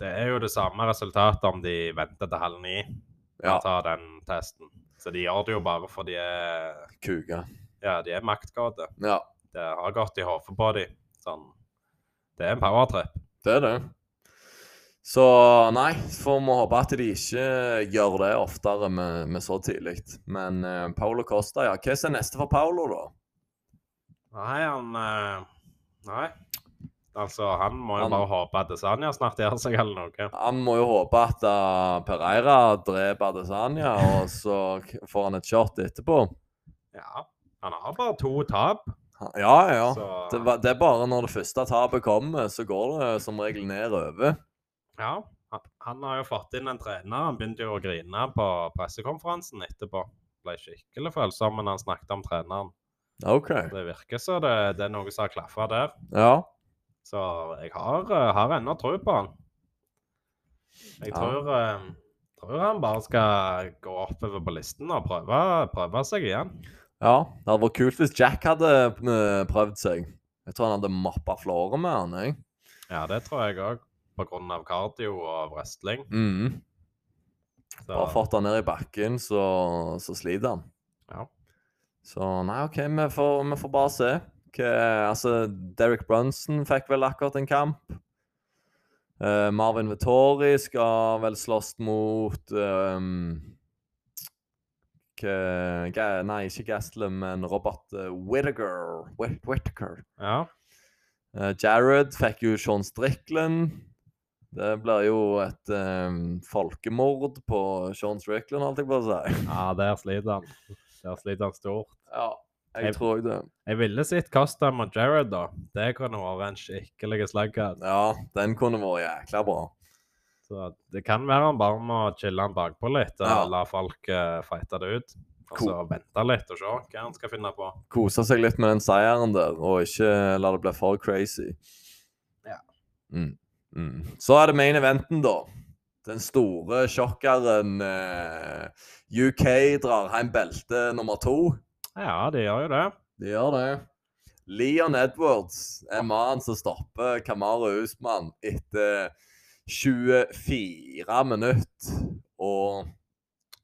[SPEAKER 2] det er jo det samme resultatet om de venter til halv ni
[SPEAKER 1] Ja,
[SPEAKER 2] og tar den testen. Så de gjør det jo bare fordi de er,
[SPEAKER 1] kuka.
[SPEAKER 2] ja, de er maktgåte.
[SPEAKER 1] Ja,
[SPEAKER 2] det har gått i hodet på dem. Sånn. Det er en powertrip.
[SPEAKER 1] Det er det. Så nei, får vi håpe at de ikke gjør det oftere med, med så tidlig. Men eh, Paolo Costa, ja. Hva er neste for Paolo, da?
[SPEAKER 2] Nei, han eh, Nei. Altså, han må jo
[SPEAKER 1] Han-
[SPEAKER 2] bare håpe at Desania snart gjør seg eller noe.
[SPEAKER 1] Han må jo håpe at eh, Pereira dreper Adesanya, og så k- får han et shot etterpå.
[SPEAKER 2] Ja. Han har bare to tap,
[SPEAKER 1] Han- Ja, ja.
[SPEAKER 2] så
[SPEAKER 1] Det, var- det er bare når det første tapet kommer, så går det som regel nedover.
[SPEAKER 2] Ja. Han, han har jo fått inn en trener. Han begynte jo å grine på pressekonferansen etterpå. Ble skikkelig følsom men han snakket om treneren.
[SPEAKER 1] OK.
[SPEAKER 2] Det virker så det, det er noe som har klaffa der.
[SPEAKER 1] Ja.
[SPEAKER 2] Så jeg har, eh, har ennå tro på han. Jeg
[SPEAKER 1] Ja.
[SPEAKER 2] tror, eh, tror han bare skal gå oppover på listen og prøve, prøve seg igjen.
[SPEAKER 1] Ja, det hadde vært kult hvis Jack hadde eh, prøvd seg. Jeg tror han hadde moppa flåret med han. Jeg.
[SPEAKER 2] Ja, det tror jeg òg, pga. kardio og wrestling.
[SPEAKER 1] Mm.
[SPEAKER 2] Så,
[SPEAKER 1] Bare fått han ned i bakken, så, så sliter han.
[SPEAKER 2] Ja.
[SPEAKER 1] Så nei, OK, vi får, vi får bare se. Hva, altså, Derek Brunson fikk vel akkurat en kamp. Eh, Marvin Vettori skal vel slåss mot um, Hva- ehm, Ga- Nei, ikke Gastelum, men Robert eh, Whittaker. Whit Whittaker.
[SPEAKER 2] Ja.
[SPEAKER 1] Eh, Jared fikk jo Sean Strickland. Det blir jo et eh, folkemord på Sean Strickland, holdt jeg på å si.
[SPEAKER 2] ja, der sliter han. Der sliter han stort.
[SPEAKER 1] Ja,
[SPEAKER 2] Jeg-
[SPEAKER 1] jeg tror det.
[SPEAKER 2] Jeg ville sett Costa mot Jared, da. Det kunne vært en skikkelig slagger.
[SPEAKER 1] Ja, den kunne vært jækla bra.
[SPEAKER 2] Så det kan være han bare må chille han bakpå litt og
[SPEAKER 1] Ja.
[SPEAKER 2] la folk eh, fighte det ut. Og
[SPEAKER 1] Cool.
[SPEAKER 2] så vente litt og se hva han skal finne på.
[SPEAKER 1] Kose seg litt med den seieren der, og ikke la det bli for crazy.
[SPEAKER 2] Ja.
[SPEAKER 1] Mm. Mm. Så er det main eventen, da. Den store sjokkeren eh, UK drar hjem belte nummer to.
[SPEAKER 2] Ja, de gjør jo det.
[SPEAKER 1] De gjør det. Leon Edwards er mannen som stopper Kamara Usman etter 24 minutter. Og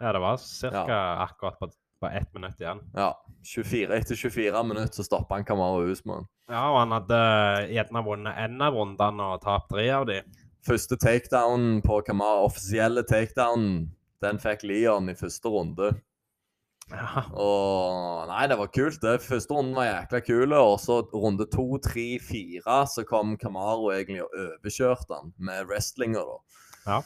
[SPEAKER 2] Ja, det var ca. akkurat på, på ett minutt igjen.
[SPEAKER 1] ja, 24, etter 24 minutter så stopper han Kamara Usman.
[SPEAKER 2] Ja, og han hadde gjerne vunnet én av rundene og tapt tre av de.
[SPEAKER 1] Første takedown på Kamara, offisielle takedown, den fikk Leon i første runde.
[SPEAKER 2] Ja,
[SPEAKER 1] Og nei, det var kult. det. Første runden var jækla kul. Og så runde to, tre, fire, så kom Camaro egentlig og overkjørte han med wrestlinger, da.
[SPEAKER 2] Ja.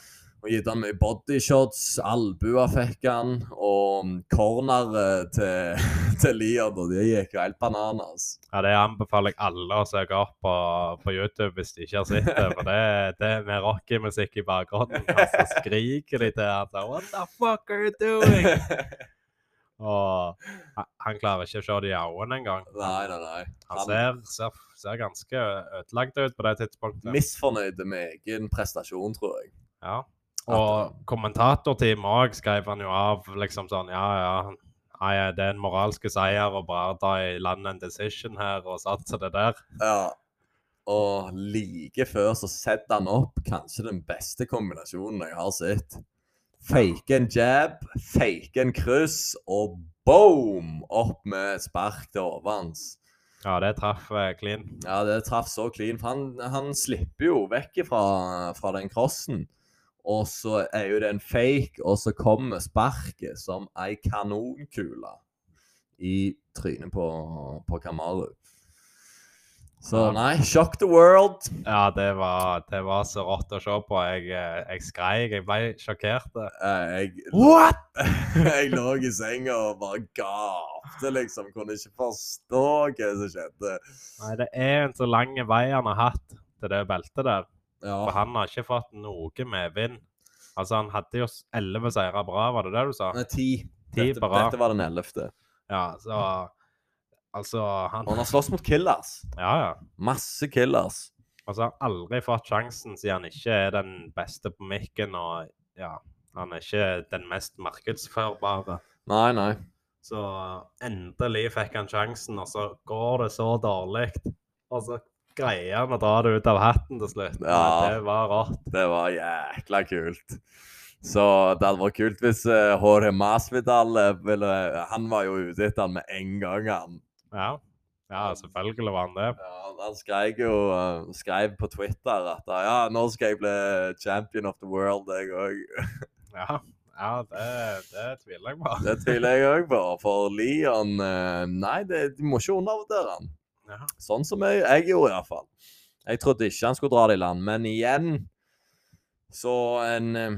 [SPEAKER 1] Og gitt han mye bodyshots, albuer fikk han, og corner eh, til, til Liad, og det gikk jo helt bananas.
[SPEAKER 2] ja Det anbefaler jeg alle å søke opp på, på YouTube hvis de ikke har sett det. For det, det er med rockemusikk i bakgrunnen, og så skriker de til han sånn What the fuck are you doing? Og han- han klarer ikke å se det i øynene engang.
[SPEAKER 1] Nei, nei, nei.
[SPEAKER 2] Han ser, ser, ser ganske ødelagt ut på det tidspunktet.
[SPEAKER 1] Misfornøyd med egen prestasjon, tror jeg.
[SPEAKER 2] Ja.
[SPEAKER 1] At,
[SPEAKER 2] Og kommentatorteamet òg skrev han jo av liksom sånn Ja, ja, nei, det er en moralske seier å bare ta i land en decision her og satse det der.
[SPEAKER 1] Ja. Og like før så setter han opp kanskje den beste kombinasjonen jeg har sett. Fake en jab, fake en kryss, og boom! Opp med et spark til hodet hans.
[SPEAKER 2] Ja, det traff eh, clean.
[SPEAKER 1] Ja, det traff så clean. For han, han slipper jo vekk fra, fra den crossen. Og så er jo det en fake, og så kommer sparket som ei kanonkule i trynet på, på Kamaru. Så
[SPEAKER 2] Ja.
[SPEAKER 1] nei, shock the world.
[SPEAKER 2] Ja, det var, det var så rått å se på. Jeg, eh, jeg skreik. Jeg ble sjokkert.
[SPEAKER 1] Eh, Jeg,
[SPEAKER 2] What?!
[SPEAKER 1] jeg lå i senga og bare gapte, liksom. Kunne ikke forstå hva som skjedde.
[SPEAKER 2] Nei, det er en så lang vei han har hatt til det beltet der. For
[SPEAKER 1] Ja.
[SPEAKER 2] han har ikke fått noe medvind. Altså, han hadde jo s- elleve seire bra, var det det du sa?
[SPEAKER 1] Nei, ti.
[SPEAKER 2] Ti
[SPEAKER 1] Dette,
[SPEAKER 2] på rad.
[SPEAKER 1] dette var den ellevte.
[SPEAKER 2] Ja, så Altså, han
[SPEAKER 1] Og han har slåss mot killers.
[SPEAKER 2] Ja, ja.
[SPEAKER 1] Masse killers.
[SPEAKER 2] Altså, han har aldri fått sjansen siden han ikke er den beste på mikken, og ja, han er ikke den mest markedsførbare.
[SPEAKER 1] Nei, nei.
[SPEAKER 2] Så endelig fikk han sjansen, og så går det så dårlig. Og så greier han å dra det ut av hatten til slutt.
[SPEAKER 1] Ja.
[SPEAKER 2] Det var rått.
[SPEAKER 1] Det var jækla kult. Så det hadde vært kult hvis eh, Jorge Masvidal eh, ville Han var jo ute etter han med en gang, han.
[SPEAKER 2] Ja. ja, selvfølgelig var han det.
[SPEAKER 1] Ja, han skreik jo eh, skrev på Twitter at eh, ja, nå skal jeg bli champion of the world, jeg òg.
[SPEAKER 2] Ja, ja det, det tviler jeg på.
[SPEAKER 1] Det tviler jeg òg på, for Leon eh, Nei, det, de må ikke undervurdere han.
[SPEAKER 2] Ja.
[SPEAKER 1] Sånn som jeg, jeg gjorde, iallfall. Jeg trodde ikke han skulle dra det i land, men igjen Så en eh,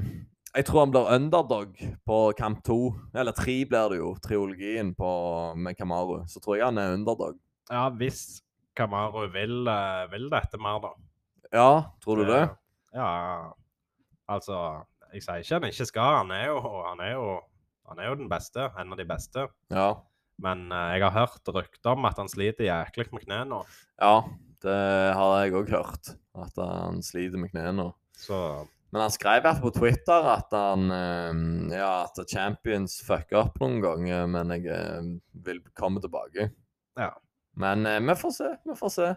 [SPEAKER 1] Jeg tror han blir underdog på kamp to. Eller tre blir det jo, triologien på, med Kamaru. Så tror jeg han er underdog.
[SPEAKER 2] ja, hvis Kamaru vil, eh, vil dette mer, da.
[SPEAKER 1] Ja, tror du det?
[SPEAKER 2] Ja, altså Jeg sier ikke han ikke skal. Han er jo, han er jo, han er jo den beste. En av de beste.
[SPEAKER 1] Ja.
[SPEAKER 2] Men eh, jeg har hørt rykter om at han sliter jæklig med kneet nå.
[SPEAKER 1] ja det har jeg òg hørt. At han sliter med knærne.
[SPEAKER 2] Så
[SPEAKER 1] Men han skrev i hvert fall på Twitter at han eh, Ja, at Champions fucker opp noen ganger, men jeg eh, vil komme tilbake.
[SPEAKER 2] Ja.
[SPEAKER 1] Men eh, vi får se, vi får se.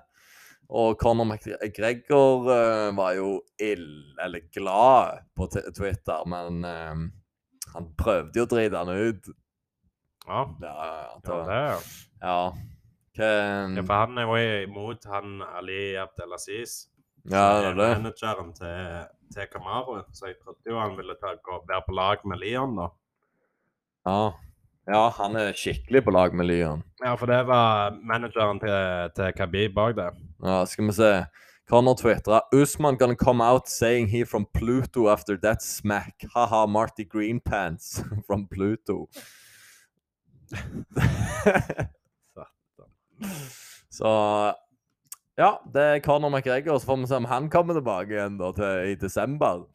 [SPEAKER 1] Og Conor McGregor eh, var jo ild, eller glad, på t Twitter, men eh, han prøvde jo å drite han ut.
[SPEAKER 2] ja.
[SPEAKER 1] Ja, ja, ja.
[SPEAKER 2] ja
[SPEAKER 1] det-
[SPEAKER 2] det.
[SPEAKER 1] ja.
[SPEAKER 2] Ja,
[SPEAKER 1] Hva
[SPEAKER 2] for han er jo imot han Ali Abdelaziz.
[SPEAKER 1] Ja, det er det.
[SPEAKER 2] Manageren til, til Kamaru. Så jeg trodde jo han ville ta, gå, være på lag med Leon, da.
[SPEAKER 1] Ja. Ja, han er skikkelig på lag med Lyon.
[SPEAKER 2] Ja, for det var manageren til, til Khabib bak det.
[SPEAKER 1] Ja, skal vi se. Connor twitrer Usman gonna come out saying he from Pluto after that smack. Haha, Marty Greenpants from Pluto. så Ja, det er Conor McGregor. Så får vi se om han kommer tilbake igjen da til, i desember.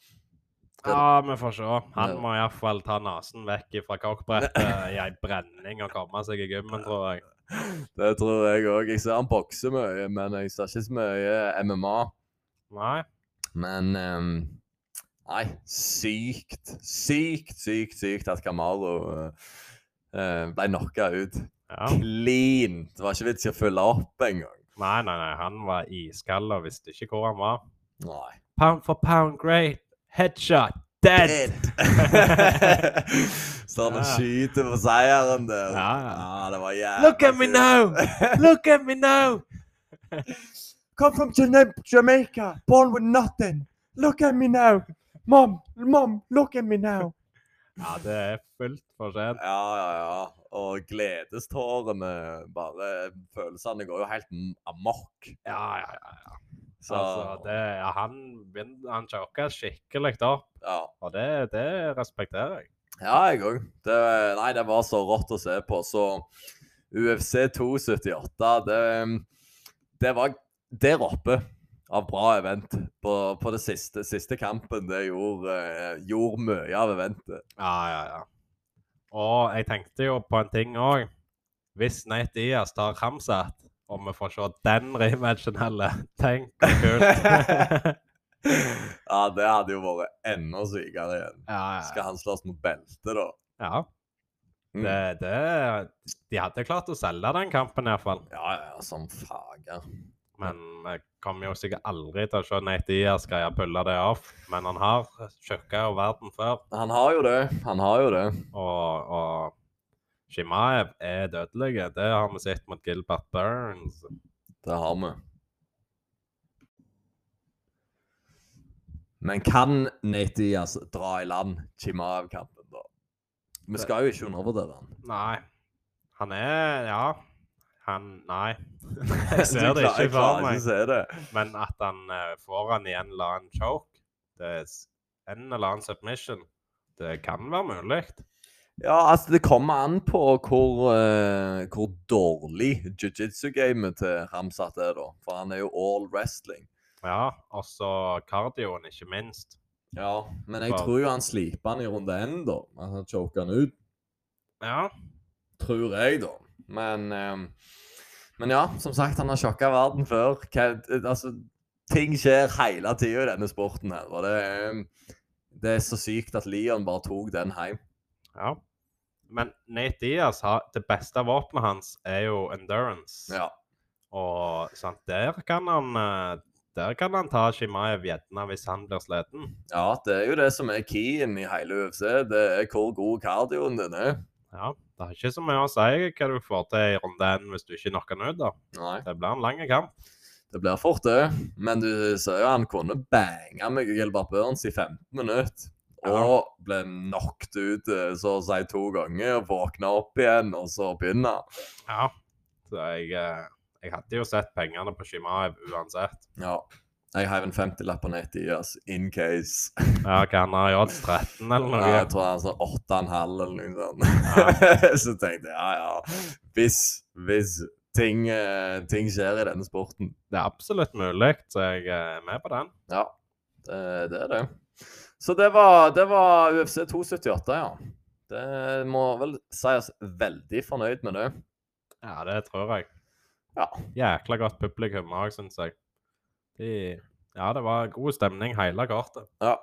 [SPEAKER 2] Ja, vi får se. Han må iallfall ta nesen vekk fra kokkbrettet i ei brenning og komme seg i gymmen, tror jeg.
[SPEAKER 1] Det tror jeg òg. Jeg ser han bokser mye, men jeg ser ikke så mye MMA.
[SPEAKER 2] Nei.
[SPEAKER 1] Men ehm, Nei, sykt, sykt, sykt, sykt at Camaro eh, ble knocka ut.
[SPEAKER 2] Ja.
[SPEAKER 1] Clean! Det var ikke vits i å følge opp engang.
[SPEAKER 2] Nei, nei, nei. Han var iskald og visste ikke hvor han var.
[SPEAKER 1] Nei.
[SPEAKER 2] Pound for pound, great. Headshot. Dead.
[SPEAKER 1] Dead. Så han
[SPEAKER 2] Ja.
[SPEAKER 1] skyter på seieren der.
[SPEAKER 2] Ja, ja.
[SPEAKER 1] det var jævla
[SPEAKER 2] Look at me
[SPEAKER 1] kult.
[SPEAKER 2] now. Look at me now.
[SPEAKER 1] Come from Jana- Jamaica, born with nothing. Look at me now. Mom, mom, look at me now.
[SPEAKER 2] Ja, det er fullt for sent.
[SPEAKER 1] Ja, ja, ja. Og gledestårene bare Følelsene går jo helt m- amok.
[SPEAKER 2] Ja, ja, ja. ja.
[SPEAKER 1] Så
[SPEAKER 2] Altså, det, ja, han vin- han choka skikkelig opp,
[SPEAKER 1] ja.
[SPEAKER 2] og det, det respekterer jeg.
[SPEAKER 1] ja, jeg òg. Det- Nei, det var så rått å se på. Så UFC 278, det, det var der oppe av bra event på, på det siste, siste kampen. Det gjorde, eh, gjorde mye av eventet.
[SPEAKER 2] Ja, ja, ja. Og jeg tenkte jo på en ting òg. Hvis Nate Diaz tar Hamzat, og vi får se den rematchen heller, tenk hvor kult.
[SPEAKER 1] Ja, det hadde jo vært enda sykere igjen.
[SPEAKER 2] ja, ja.
[SPEAKER 1] Skal han slåss mot beltet, da?
[SPEAKER 2] ja.
[SPEAKER 1] Mm.
[SPEAKER 2] Det, det, de hadde klart å selge den kampen iallfall.
[SPEAKER 1] Ja, ja, som fager.
[SPEAKER 2] Men vi kommer jo sikkert aldri til å se Nate Diaz greie å pulle det av. Men han har sjekka jo verden før,
[SPEAKER 1] Han har jo det. Han har jo det.
[SPEAKER 2] og, og Shimaev er dødelig. Det har vi sett mot Gilbert Burns.
[SPEAKER 1] Det har vi. Men kan Nate Diaz dra i land Chimaev-kampen, da? Vi skal jo ikke undervurdere han.
[SPEAKER 2] Nei. Han er Ja. Han Nei.
[SPEAKER 1] Jeg
[SPEAKER 2] ser
[SPEAKER 1] klarer-
[SPEAKER 2] det ikke
[SPEAKER 1] jeg
[SPEAKER 2] for
[SPEAKER 1] klarer
[SPEAKER 2] meg.
[SPEAKER 1] ikke å se det.
[SPEAKER 2] Men at han eh, får han i en eller annen choke, det er s- en eller annen submission, det kan være mulig.
[SPEAKER 1] Ja, altså, det kommer an på hvor, eh, hvor dårlig jiu-jitsu-gamet til Ramsat er, da. For han er jo all wrestling.
[SPEAKER 2] Ja. Og så kardioen, ikke minst.
[SPEAKER 1] Ja, men jeg
[SPEAKER 2] Bare-
[SPEAKER 1] tror jo han sliper han i runde én, da. At han choker han ut.
[SPEAKER 2] Ja.
[SPEAKER 1] Tror jeg, da. Men, ehm, men ja, som sagt, han har sjokka verden før. Hva, altså, ting skjer hele tida i denne sporten her. Og det, er- det er så sykt at Leon bare tok den hjem.
[SPEAKER 2] Ja. Men Nate Diaz, har, det beste våpenet hans er jo endurance.
[SPEAKER 1] Ja.
[SPEAKER 2] Og sant, der kan han eh, der kan han ta Shimaev gjerne hvis han blir sliten.
[SPEAKER 1] ja, det er jo det som er keyen i hele UFC. Det er hvor god kardioen din er.
[SPEAKER 2] Ja, Det har ikke så mye å si hva du får til i runde én hvis du ikke knocker han ut. da.
[SPEAKER 1] Nei,
[SPEAKER 2] Det blir en lang kamp.
[SPEAKER 1] det blir fort det. Men du ser jo han kunne bange med Gilbert Burns i 15 minutter. Og ble knocked ut eh, så å si to ganger. Våkna opp igjen, og så begynne.
[SPEAKER 2] Ja. Så jeg, eh, jeg hadde jo sett pengene på Shimaev uansett.
[SPEAKER 1] Ja. Jeg heiv en 50-lapp på nettet i oss, in case.
[SPEAKER 2] Ja, hva han har i odds 13 eller
[SPEAKER 1] Ja,
[SPEAKER 2] noe?
[SPEAKER 1] jeg tror han sa 8,5 eller noe sånt. Så tenkte jeg ja, ja. Hvis, hvis ting, eh, ting skjer i denne sporten.
[SPEAKER 2] Det er absolutt mulig, så jeg eh, er med på den.
[SPEAKER 1] Ja, det, det er det. Så det var, det var UFC 278, ja. Det må vel si oss veldig fornøyd med det.
[SPEAKER 2] Ja, det tror jeg.
[SPEAKER 1] Ja.
[SPEAKER 2] Jækla godt publikum òg, syns jeg. De, ja, det var god stemning hele kortet.
[SPEAKER 1] Ja.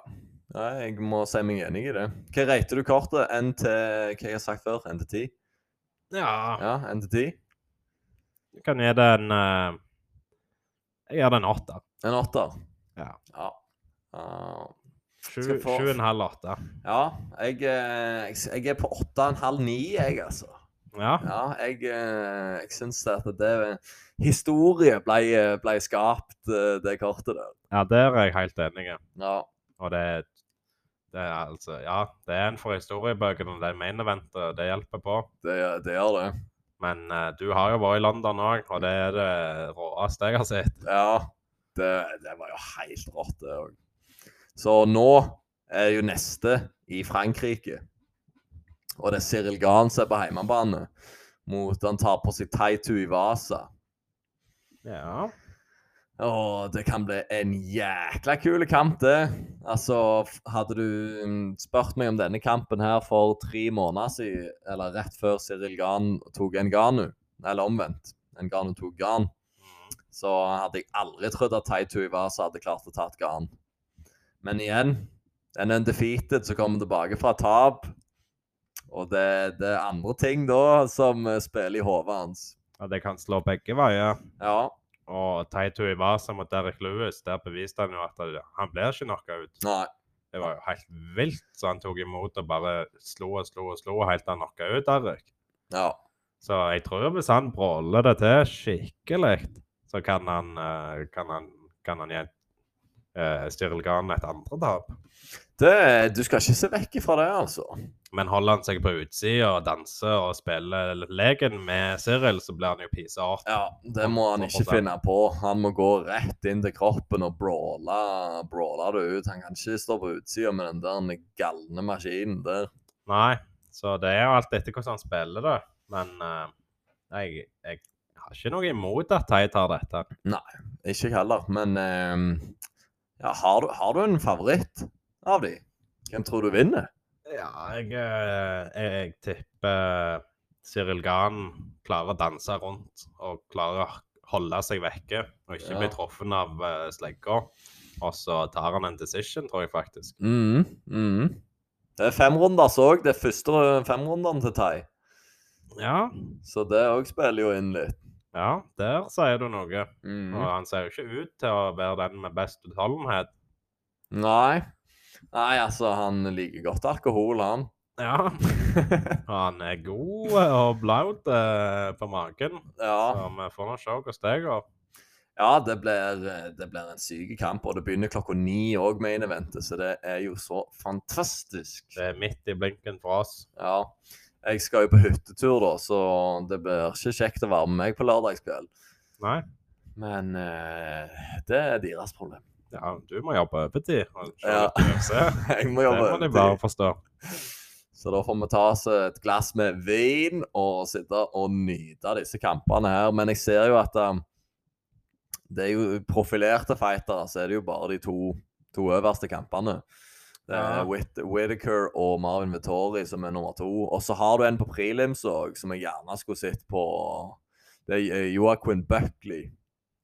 [SPEAKER 1] Nei, jeg må si meg enig i det. Hva rater du kortet? N til hva jeg har sagt før? N til 10?
[SPEAKER 2] Ja.
[SPEAKER 1] Ja, N til 10?
[SPEAKER 2] Jeg kan gi det en eh, Jeg gir det en åtter.
[SPEAKER 1] En åtter?
[SPEAKER 2] Ja.
[SPEAKER 1] ja. Ah,
[SPEAKER 2] Sju
[SPEAKER 1] Skal få-
[SPEAKER 2] sju og en halv åtte.
[SPEAKER 1] ja, jeg, eh, jeg, s- jeg er på åtte og en halv ni, jeg, altså.
[SPEAKER 2] Ja.
[SPEAKER 1] Ja, jeg, eh, jeg syns at det Historie ble, ble skapt, eh, det kortet der.
[SPEAKER 2] ja, der er jeg helt enig.
[SPEAKER 1] Ja.
[SPEAKER 2] Og det, det Det er altså, ja, det er en for historiebøkene, det er main eventet, det hjelper på.
[SPEAKER 1] Det, det gjør det.
[SPEAKER 2] Men eh, du har jo vært i London òg, og det er det råeste jeg har sett.
[SPEAKER 1] Ja, det, det var jo helt rått, det òg. Så nå er jo neste i Frankrike. Og det er Cyril Gahn som er på hjemmebane mot Han tar på seg Taitu Ivasa.
[SPEAKER 2] Ja.
[SPEAKER 1] Åh, det kan bli en jækla kul kamp, det. Altså, f- hadde du mm, spurt meg om denne kampen her for tre måneder siden, eller rett før Cyril Gan tok en Ganu, eller omvendt, en Ganu tok Gan, så hadde jeg aldri trodd at Taitu Ivasa hadde klart å ta et Gan. Men igjen, en undefeated som kommer tilbake fra tap, og det, det er andre ting da som eh, spiller i hodet hans.
[SPEAKER 2] Og det kan slå begge veier.
[SPEAKER 1] Ja,
[SPEAKER 2] Og Taito Ivasa mot Derek Lewis, der beviste han jo at det- han blir ikke knockout.
[SPEAKER 1] nei.
[SPEAKER 2] Det var jo helt vilt, så han tok imot og bare slo og slo og slo helt til han knocka ut Derek.
[SPEAKER 1] Ja,
[SPEAKER 2] Så jeg tror hvis han bråler det til skikkelig, så kan han, eh, kan han, kan han gi eh, Cyril Gahn et andre tap.
[SPEAKER 1] det, du skal ikke se vekk fra det, altså.
[SPEAKER 2] Men holder han seg på utsida og danser og spiller leken med Cyril, så blir han jo piseart.
[SPEAKER 1] Ja, det må han ikke
[SPEAKER 2] 100%.
[SPEAKER 1] finne på. Han må gå rett inn til kroppen og brawle, brawle det ut. Han kan ikke stå på utsida med den der galne maskinen der.
[SPEAKER 2] Nei, så det er jo alt etter hvordan han spiller det. Men eh, jeg, jeg har ikke noe imot at Tei tar dette.
[SPEAKER 1] Ikke jeg heller, men ehm, ja, har, du, har du en favoritt av de? Hvem tror du vinner?
[SPEAKER 2] Ja, jeg, eh, jeg, jeg tipper Cyril Gahn klarer å danse rundt og klarer å holde seg vekke og ikke
[SPEAKER 1] Ja.
[SPEAKER 2] bli truffet av eh, slegga. Og så tar han en decision, tror jeg faktisk.
[SPEAKER 1] Mm, mm. Det er femrunders òg. Det er første femrunderen til Tai.
[SPEAKER 2] Ja,
[SPEAKER 1] Så det òg spiller jo inn litt.
[SPEAKER 2] ja der sier du noe.
[SPEAKER 1] Mm.
[SPEAKER 2] Og han ser jo ikke ut til å være den med best utholdenhet.
[SPEAKER 1] Nei. Nei, altså, han liker godt alkohol, han.
[SPEAKER 2] Ja, og han er god og blaut eh, på magen.
[SPEAKER 1] Ja.
[SPEAKER 2] Så vi får nå se hvordan det går.
[SPEAKER 1] Ja, det blir, eh, det blir en syk kamp, og det begynner klokka ni òg med eventet, så det er jo så fantastisk.
[SPEAKER 2] Det er midt i blinken for oss.
[SPEAKER 1] Ja. Jeg skal jo på hyttetur, da, så det blir ikke kjekt å være med meg på lørdagskveld.
[SPEAKER 2] Nei,
[SPEAKER 1] Men eh, det er deres problem.
[SPEAKER 2] ja, du må jobbe overtid. og se
[SPEAKER 1] Ja.
[SPEAKER 2] litt UFC.
[SPEAKER 1] Jeg må
[SPEAKER 2] Det
[SPEAKER 1] jobbe
[SPEAKER 2] må de bare
[SPEAKER 1] overtid.
[SPEAKER 2] forstå.
[SPEAKER 1] Så da får vi ta oss et glass med vin og sitte og nyte disse kampene her. Men jeg ser jo at um, det er jo profilerte fightere, så er det jo bare de to, to øverste kampene. Det er
[SPEAKER 2] Ja.
[SPEAKER 1] Whit Whittaker og Marvin Vettori som er nummer to. Og så har du en på prelims òg, som jeg gjerne skulle sett på. Det er eh, Joaquin Buckley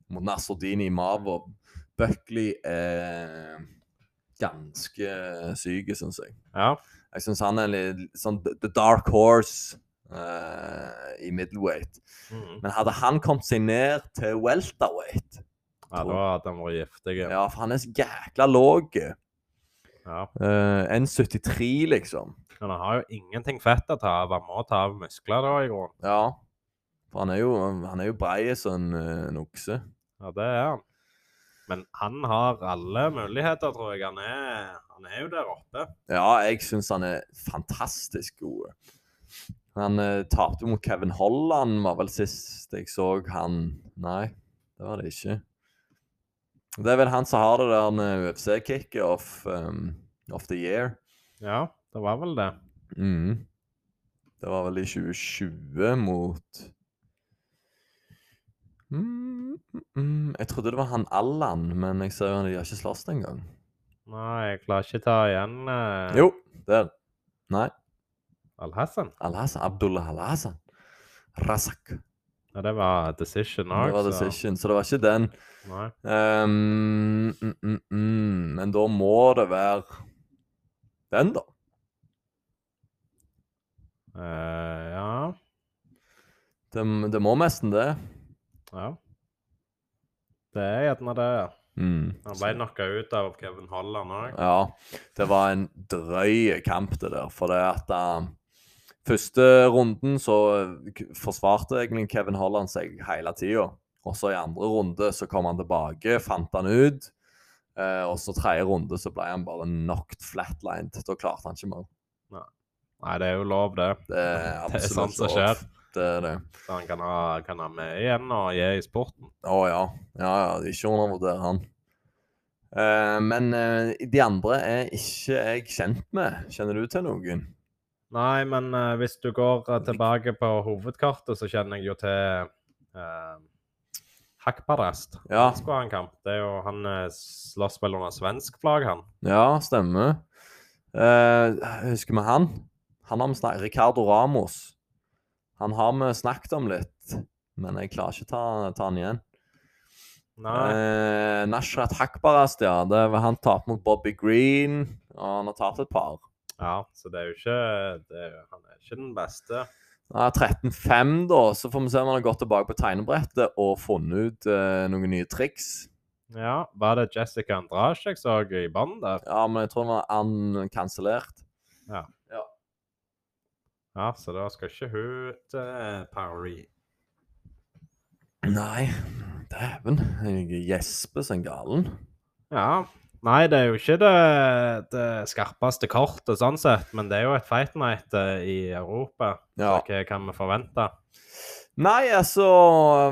[SPEAKER 1] mot Nasruddini Mavov. Buckley er ganske syk, syns jeg.
[SPEAKER 2] Ja,
[SPEAKER 1] Jeg syns han er litt sånn the- the dark horse eh, i middleweight.
[SPEAKER 2] mm.
[SPEAKER 1] Men hadde han kommet seg ned til welterweight
[SPEAKER 2] ja da hadde han vært giftig. Ja.
[SPEAKER 1] Ja, for han er så jækla lav.
[SPEAKER 2] Ja.
[SPEAKER 1] 1,73, liksom.
[SPEAKER 2] Men han har jo ingenting fett å ta av. Han må ta av muskler da, i grunnen.
[SPEAKER 1] Ja. For han er jo, han er jo brei som en eh, en okse.
[SPEAKER 2] Ja, det er han. Men han har alle muligheter, tror jeg. Han er, han er jo der oppe.
[SPEAKER 1] Ja, jeg syns han er fantastisk god. Han eh, tapte mot Kevin Holland, var vel sist jeg så han Nei, det var det ikke. Det er vel han eh, som har det der UFC-kicket of, um, of the year.
[SPEAKER 2] Ja, det var vel det.
[SPEAKER 1] Mhm. Det var vel i 2020 mot mm, mm, mm. Jeg trodde det var han Allan, men jeg ser jo han de har ikke slåss engang.
[SPEAKER 2] Nei, jeg klarer ikke ta igjen eh,
[SPEAKER 1] Jo, der. Nei.
[SPEAKER 2] Al-Hassan.
[SPEAKER 1] Al-Hassan. Abdullah Al-Hassan. Razak.
[SPEAKER 2] Ja, det var Decision òg.
[SPEAKER 1] Det var decision, så det var ikke den.
[SPEAKER 2] Nei.
[SPEAKER 1] Ehm, mm, mm, mm. Men da må det være den, da.
[SPEAKER 2] Eh, ja.
[SPEAKER 1] Det, det må nesten det.
[SPEAKER 2] ja. Det er gjerne det. ja.
[SPEAKER 1] Mm.
[SPEAKER 2] Han ble knocka ut av Kevin Holland òg.
[SPEAKER 1] Ja, det var en drøy kamp det der, for det at eh, første runden så eh, k- forsvarte egentlig Kevin Holland seg hele tida. Og så i andre runde så kom han tilbake, fant han ut. Eh, og så tredje runde så ble han bare knocked flatlined. Da klarte han ikke mer.
[SPEAKER 2] Nei, det er jo lov, det.
[SPEAKER 1] Det er
[SPEAKER 2] Det er sant
[SPEAKER 1] absolutt
[SPEAKER 2] som
[SPEAKER 1] lov.
[SPEAKER 2] skjer.
[SPEAKER 1] Det er det.
[SPEAKER 2] Så han kan ha, kan ha med igjen og gi i sporten.
[SPEAKER 1] Å ja. Ja, ja. det er Ikke undervurder han. Eh, men eh, de andre er ikke jeg kjent med. Kjenner du til noen?
[SPEAKER 2] Nei, men eh, hvis du går eh, tilbake på hovedkartet, så kjenner jeg jo til uh, Hakparest.
[SPEAKER 1] Ja.
[SPEAKER 2] Han skulle ha en kamp. Det er jo, han eh, slåss vel under svensk flagg, han.
[SPEAKER 1] Ja, stemmer. Eh, husker vi han? Han har vi snakket Ricardo Ramos. Han har vi snakket om litt, men jeg klarer ikke ta, ta han igjen.
[SPEAKER 2] Nei,
[SPEAKER 1] Eh, Nashrat Hakbarast, ja. Det var han tapte mot Bobby Green. Og han har tapt et par.
[SPEAKER 2] ja, så det er jo ikke det er, jo- Han er ikke den beste.
[SPEAKER 1] Ja, 13-5, da. Så får vi se om han har gått tilbake på tegnebrettet og funnet ut eh, noen nye triks.
[SPEAKER 2] Ja, var det Jessica Andrage jeg så i bånn der?
[SPEAKER 1] Ja, men jeg tror han var an- kansellert.
[SPEAKER 2] Ja, så da skal ikke hun til Paris.
[SPEAKER 1] Nei, dæven. Jeg gjesper som galen.
[SPEAKER 2] Ja. Nei, det er jo ikke det, det skarpeste kortet, sånn sett, men det er jo et fight night eh, i Europa.
[SPEAKER 1] Ja.
[SPEAKER 2] Så hva kan vi forvente?
[SPEAKER 1] Nei, altså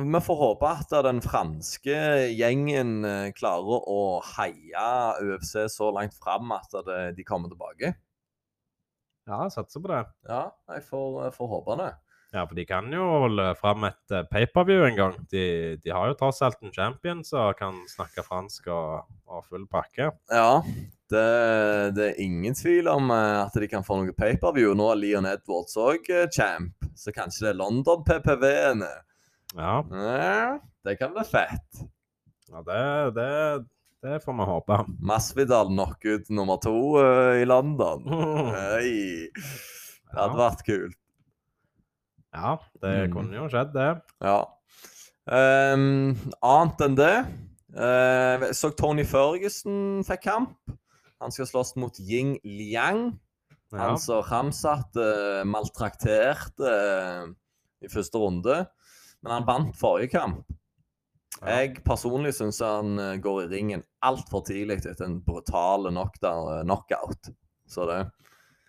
[SPEAKER 1] Vi får håpe at den franske gjengen eh, klarer å heie UFC så langt fram at det- de kommer tilbake.
[SPEAKER 2] Ja, jeg satser på det.
[SPEAKER 1] Ja, jeg får, jeg får håpe det.
[SPEAKER 2] Ja, for de kan jo holde fram et eh, pay-per-view en gang. De, de har jo tross alt en champion som kan snakke fransk og, og full pakke.
[SPEAKER 1] Ja, det, det er ingen tvil om eh, at de kan få noe paperview. Nå er Leon Edwards òg champ, så kanskje det er London-PPV-ene.
[SPEAKER 2] Ja,
[SPEAKER 1] Ja, det kan bli fett.
[SPEAKER 2] ja det, det, det får vi håpe.
[SPEAKER 1] Masvidal knockout nummer to eh, i London. Oi. Det hadde vært kult.
[SPEAKER 2] Ja, det
[SPEAKER 1] Mm.
[SPEAKER 2] kunne jo skjedd, det.
[SPEAKER 1] Ja. Ehm, annet enn det eh, Jeg så Tony Førgesen fikk kamp. Han skal slåss mot Ying Liang.
[SPEAKER 2] Ja.
[SPEAKER 1] Han som ramsatte, eh, maltrakterte eh, i første runde. Men han vant forrige kamp.
[SPEAKER 2] Ja.
[SPEAKER 1] Jeg personlig syns han eh, går i ringen altfor tidlig etter en brutal knockdown- eh, knockout. Så det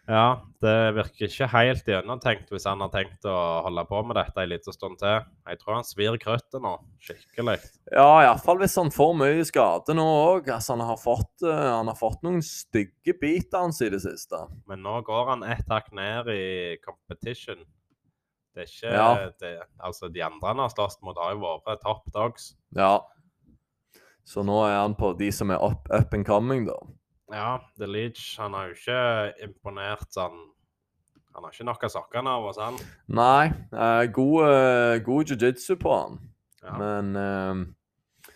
[SPEAKER 2] ja, det virker ikke helt gjennomtenkt hvis han har tenkt å holde på med dette en liten stund til. Jeg tror han svir krøttet nå, skikkelig.
[SPEAKER 1] Ja, iallfall hvis han får mye skade nå òg. Altså, han, har fått, eh, han har fått noen stygge biter hans i det siste.
[SPEAKER 2] Men nå går han ett hakk ned i competition. Det er ikke
[SPEAKER 1] Ja.
[SPEAKER 2] det, Altså, de andre han har slåss mot, har jo vært top dogs.
[SPEAKER 1] Ja. Så nå er han på de som er up, up and coming, da.
[SPEAKER 2] Ja, The Leach, han har jo ikke imponert sånn Han har ikke nok av sokkene av oss, han.
[SPEAKER 1] Nei, eh, god, eh, god jiu-jitsu på han,
[SPEAKER 2] Ja.
[SPEAKER 1] men eh,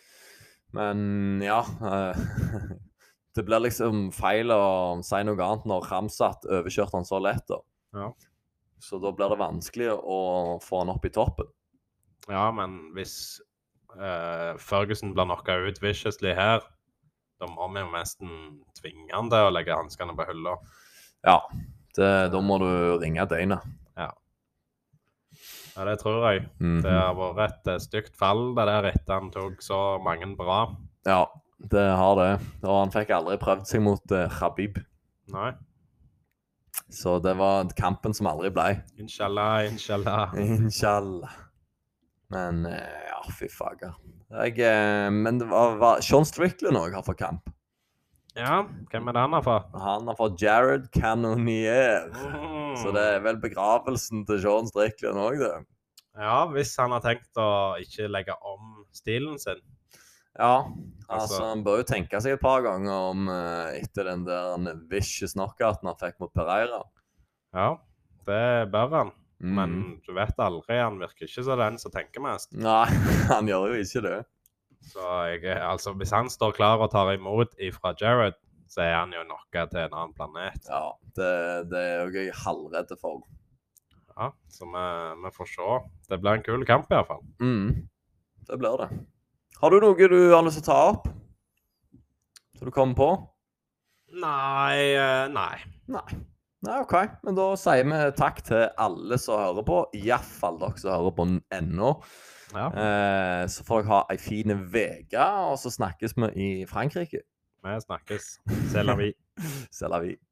[SPEAKER 1] Men ja. eh, det blir liksom feil å si noe annet når Ramsat overkjørte han så lett, da.
[SPEAKER 2] Ja.
[SPEAKER 1] Så da blir det vanskelig å få han opp i toppen.
[SPEAKER 2] Ja, men hvis eh, Ferguson blir knocka ut viciously her, da må vi jo nesten tvinge han til å legge hanskene på hylla.
[SPEAKER 1] Ja. Det, da må du ringe Dana.
[SPEAKER 2] Ja, det tror jeg.
[SPEAKER 1] Mhm.
[SPEAKER 2] Det har vært et eh, stygt fall, det der etter han tok så mange bra.
[SPEAKER 1] Ja, det har det. Og han fikk aldri prøvd seg mot eh, Khabib.
[SPEAKER 2] Nei.
[SPEAKER 1] Så det var kampen som aldri ble.
[SPEAKER 2] Inshallah, inshallah.
[SPEAKER 1] Inshallah. Men eh, ja, fy fager. Jeg, eh, men det var, var Sean Strickland òg har fått kamp.
[SPEAKER 2] Ja, hvem er det han har fått?
[SPEAKER 1] Han har fått Jared Cannonier.
[SPEAKER 2] Mm.
[SPEAKER 1] Så det er vel begravelsen til Sean Strickland òg, det.
[SPEAKER 2] Mm. Ja, hvis han har tenkt å ikke legge om stilen sin.
[SPEAKER 1] Ja. Altså,
[SPEAKER 2] Altså-
[SPEAKER 1] Han bør jo tenke seg et par ganger om eh, etter den der vicious knockouten han fikk mot Pereira.
[SPEAKER 2] Ja, det bør han.
[SPEAKER 1] Mm.
[SPEAKER 2] Men du vet aldri, han virker ikke som den som tenker mest.
[SPEAKER 1] Nei, han gjør jo ikke det.
[SPEAKER 2] Så jeg, er- altså, hvis han står klar og tar imot ifra Jared, så er han jo noe til en annen planet.
[SPEAKER 1] Ja, Det, det er jo jeg halvredd for.
[SPEAKER 2] Ja, så vi, vi får se. Det blir en kul kamp i hvert fall.
[SPEAKER 1] Mm. Det blir det. Har du noe du har lyst til å ta opp? Som du kommer på?
[SPEAKER 2] Nei, eh, nei.
[SPEAKER 1] Nei. Nei, OK. Men da sier vi takk til alle som hører på. Iallfall dere som hører på den ennå.
[SPEAKER 2] Ja.
[SPEAKER 1] Eh, så får dere ha ei fin uke, og så snakkes vi i Frankrike.
[SPEAKER 3] Vi snakkes. C'est la vie.
[SPEAKER 2] C'est la vie.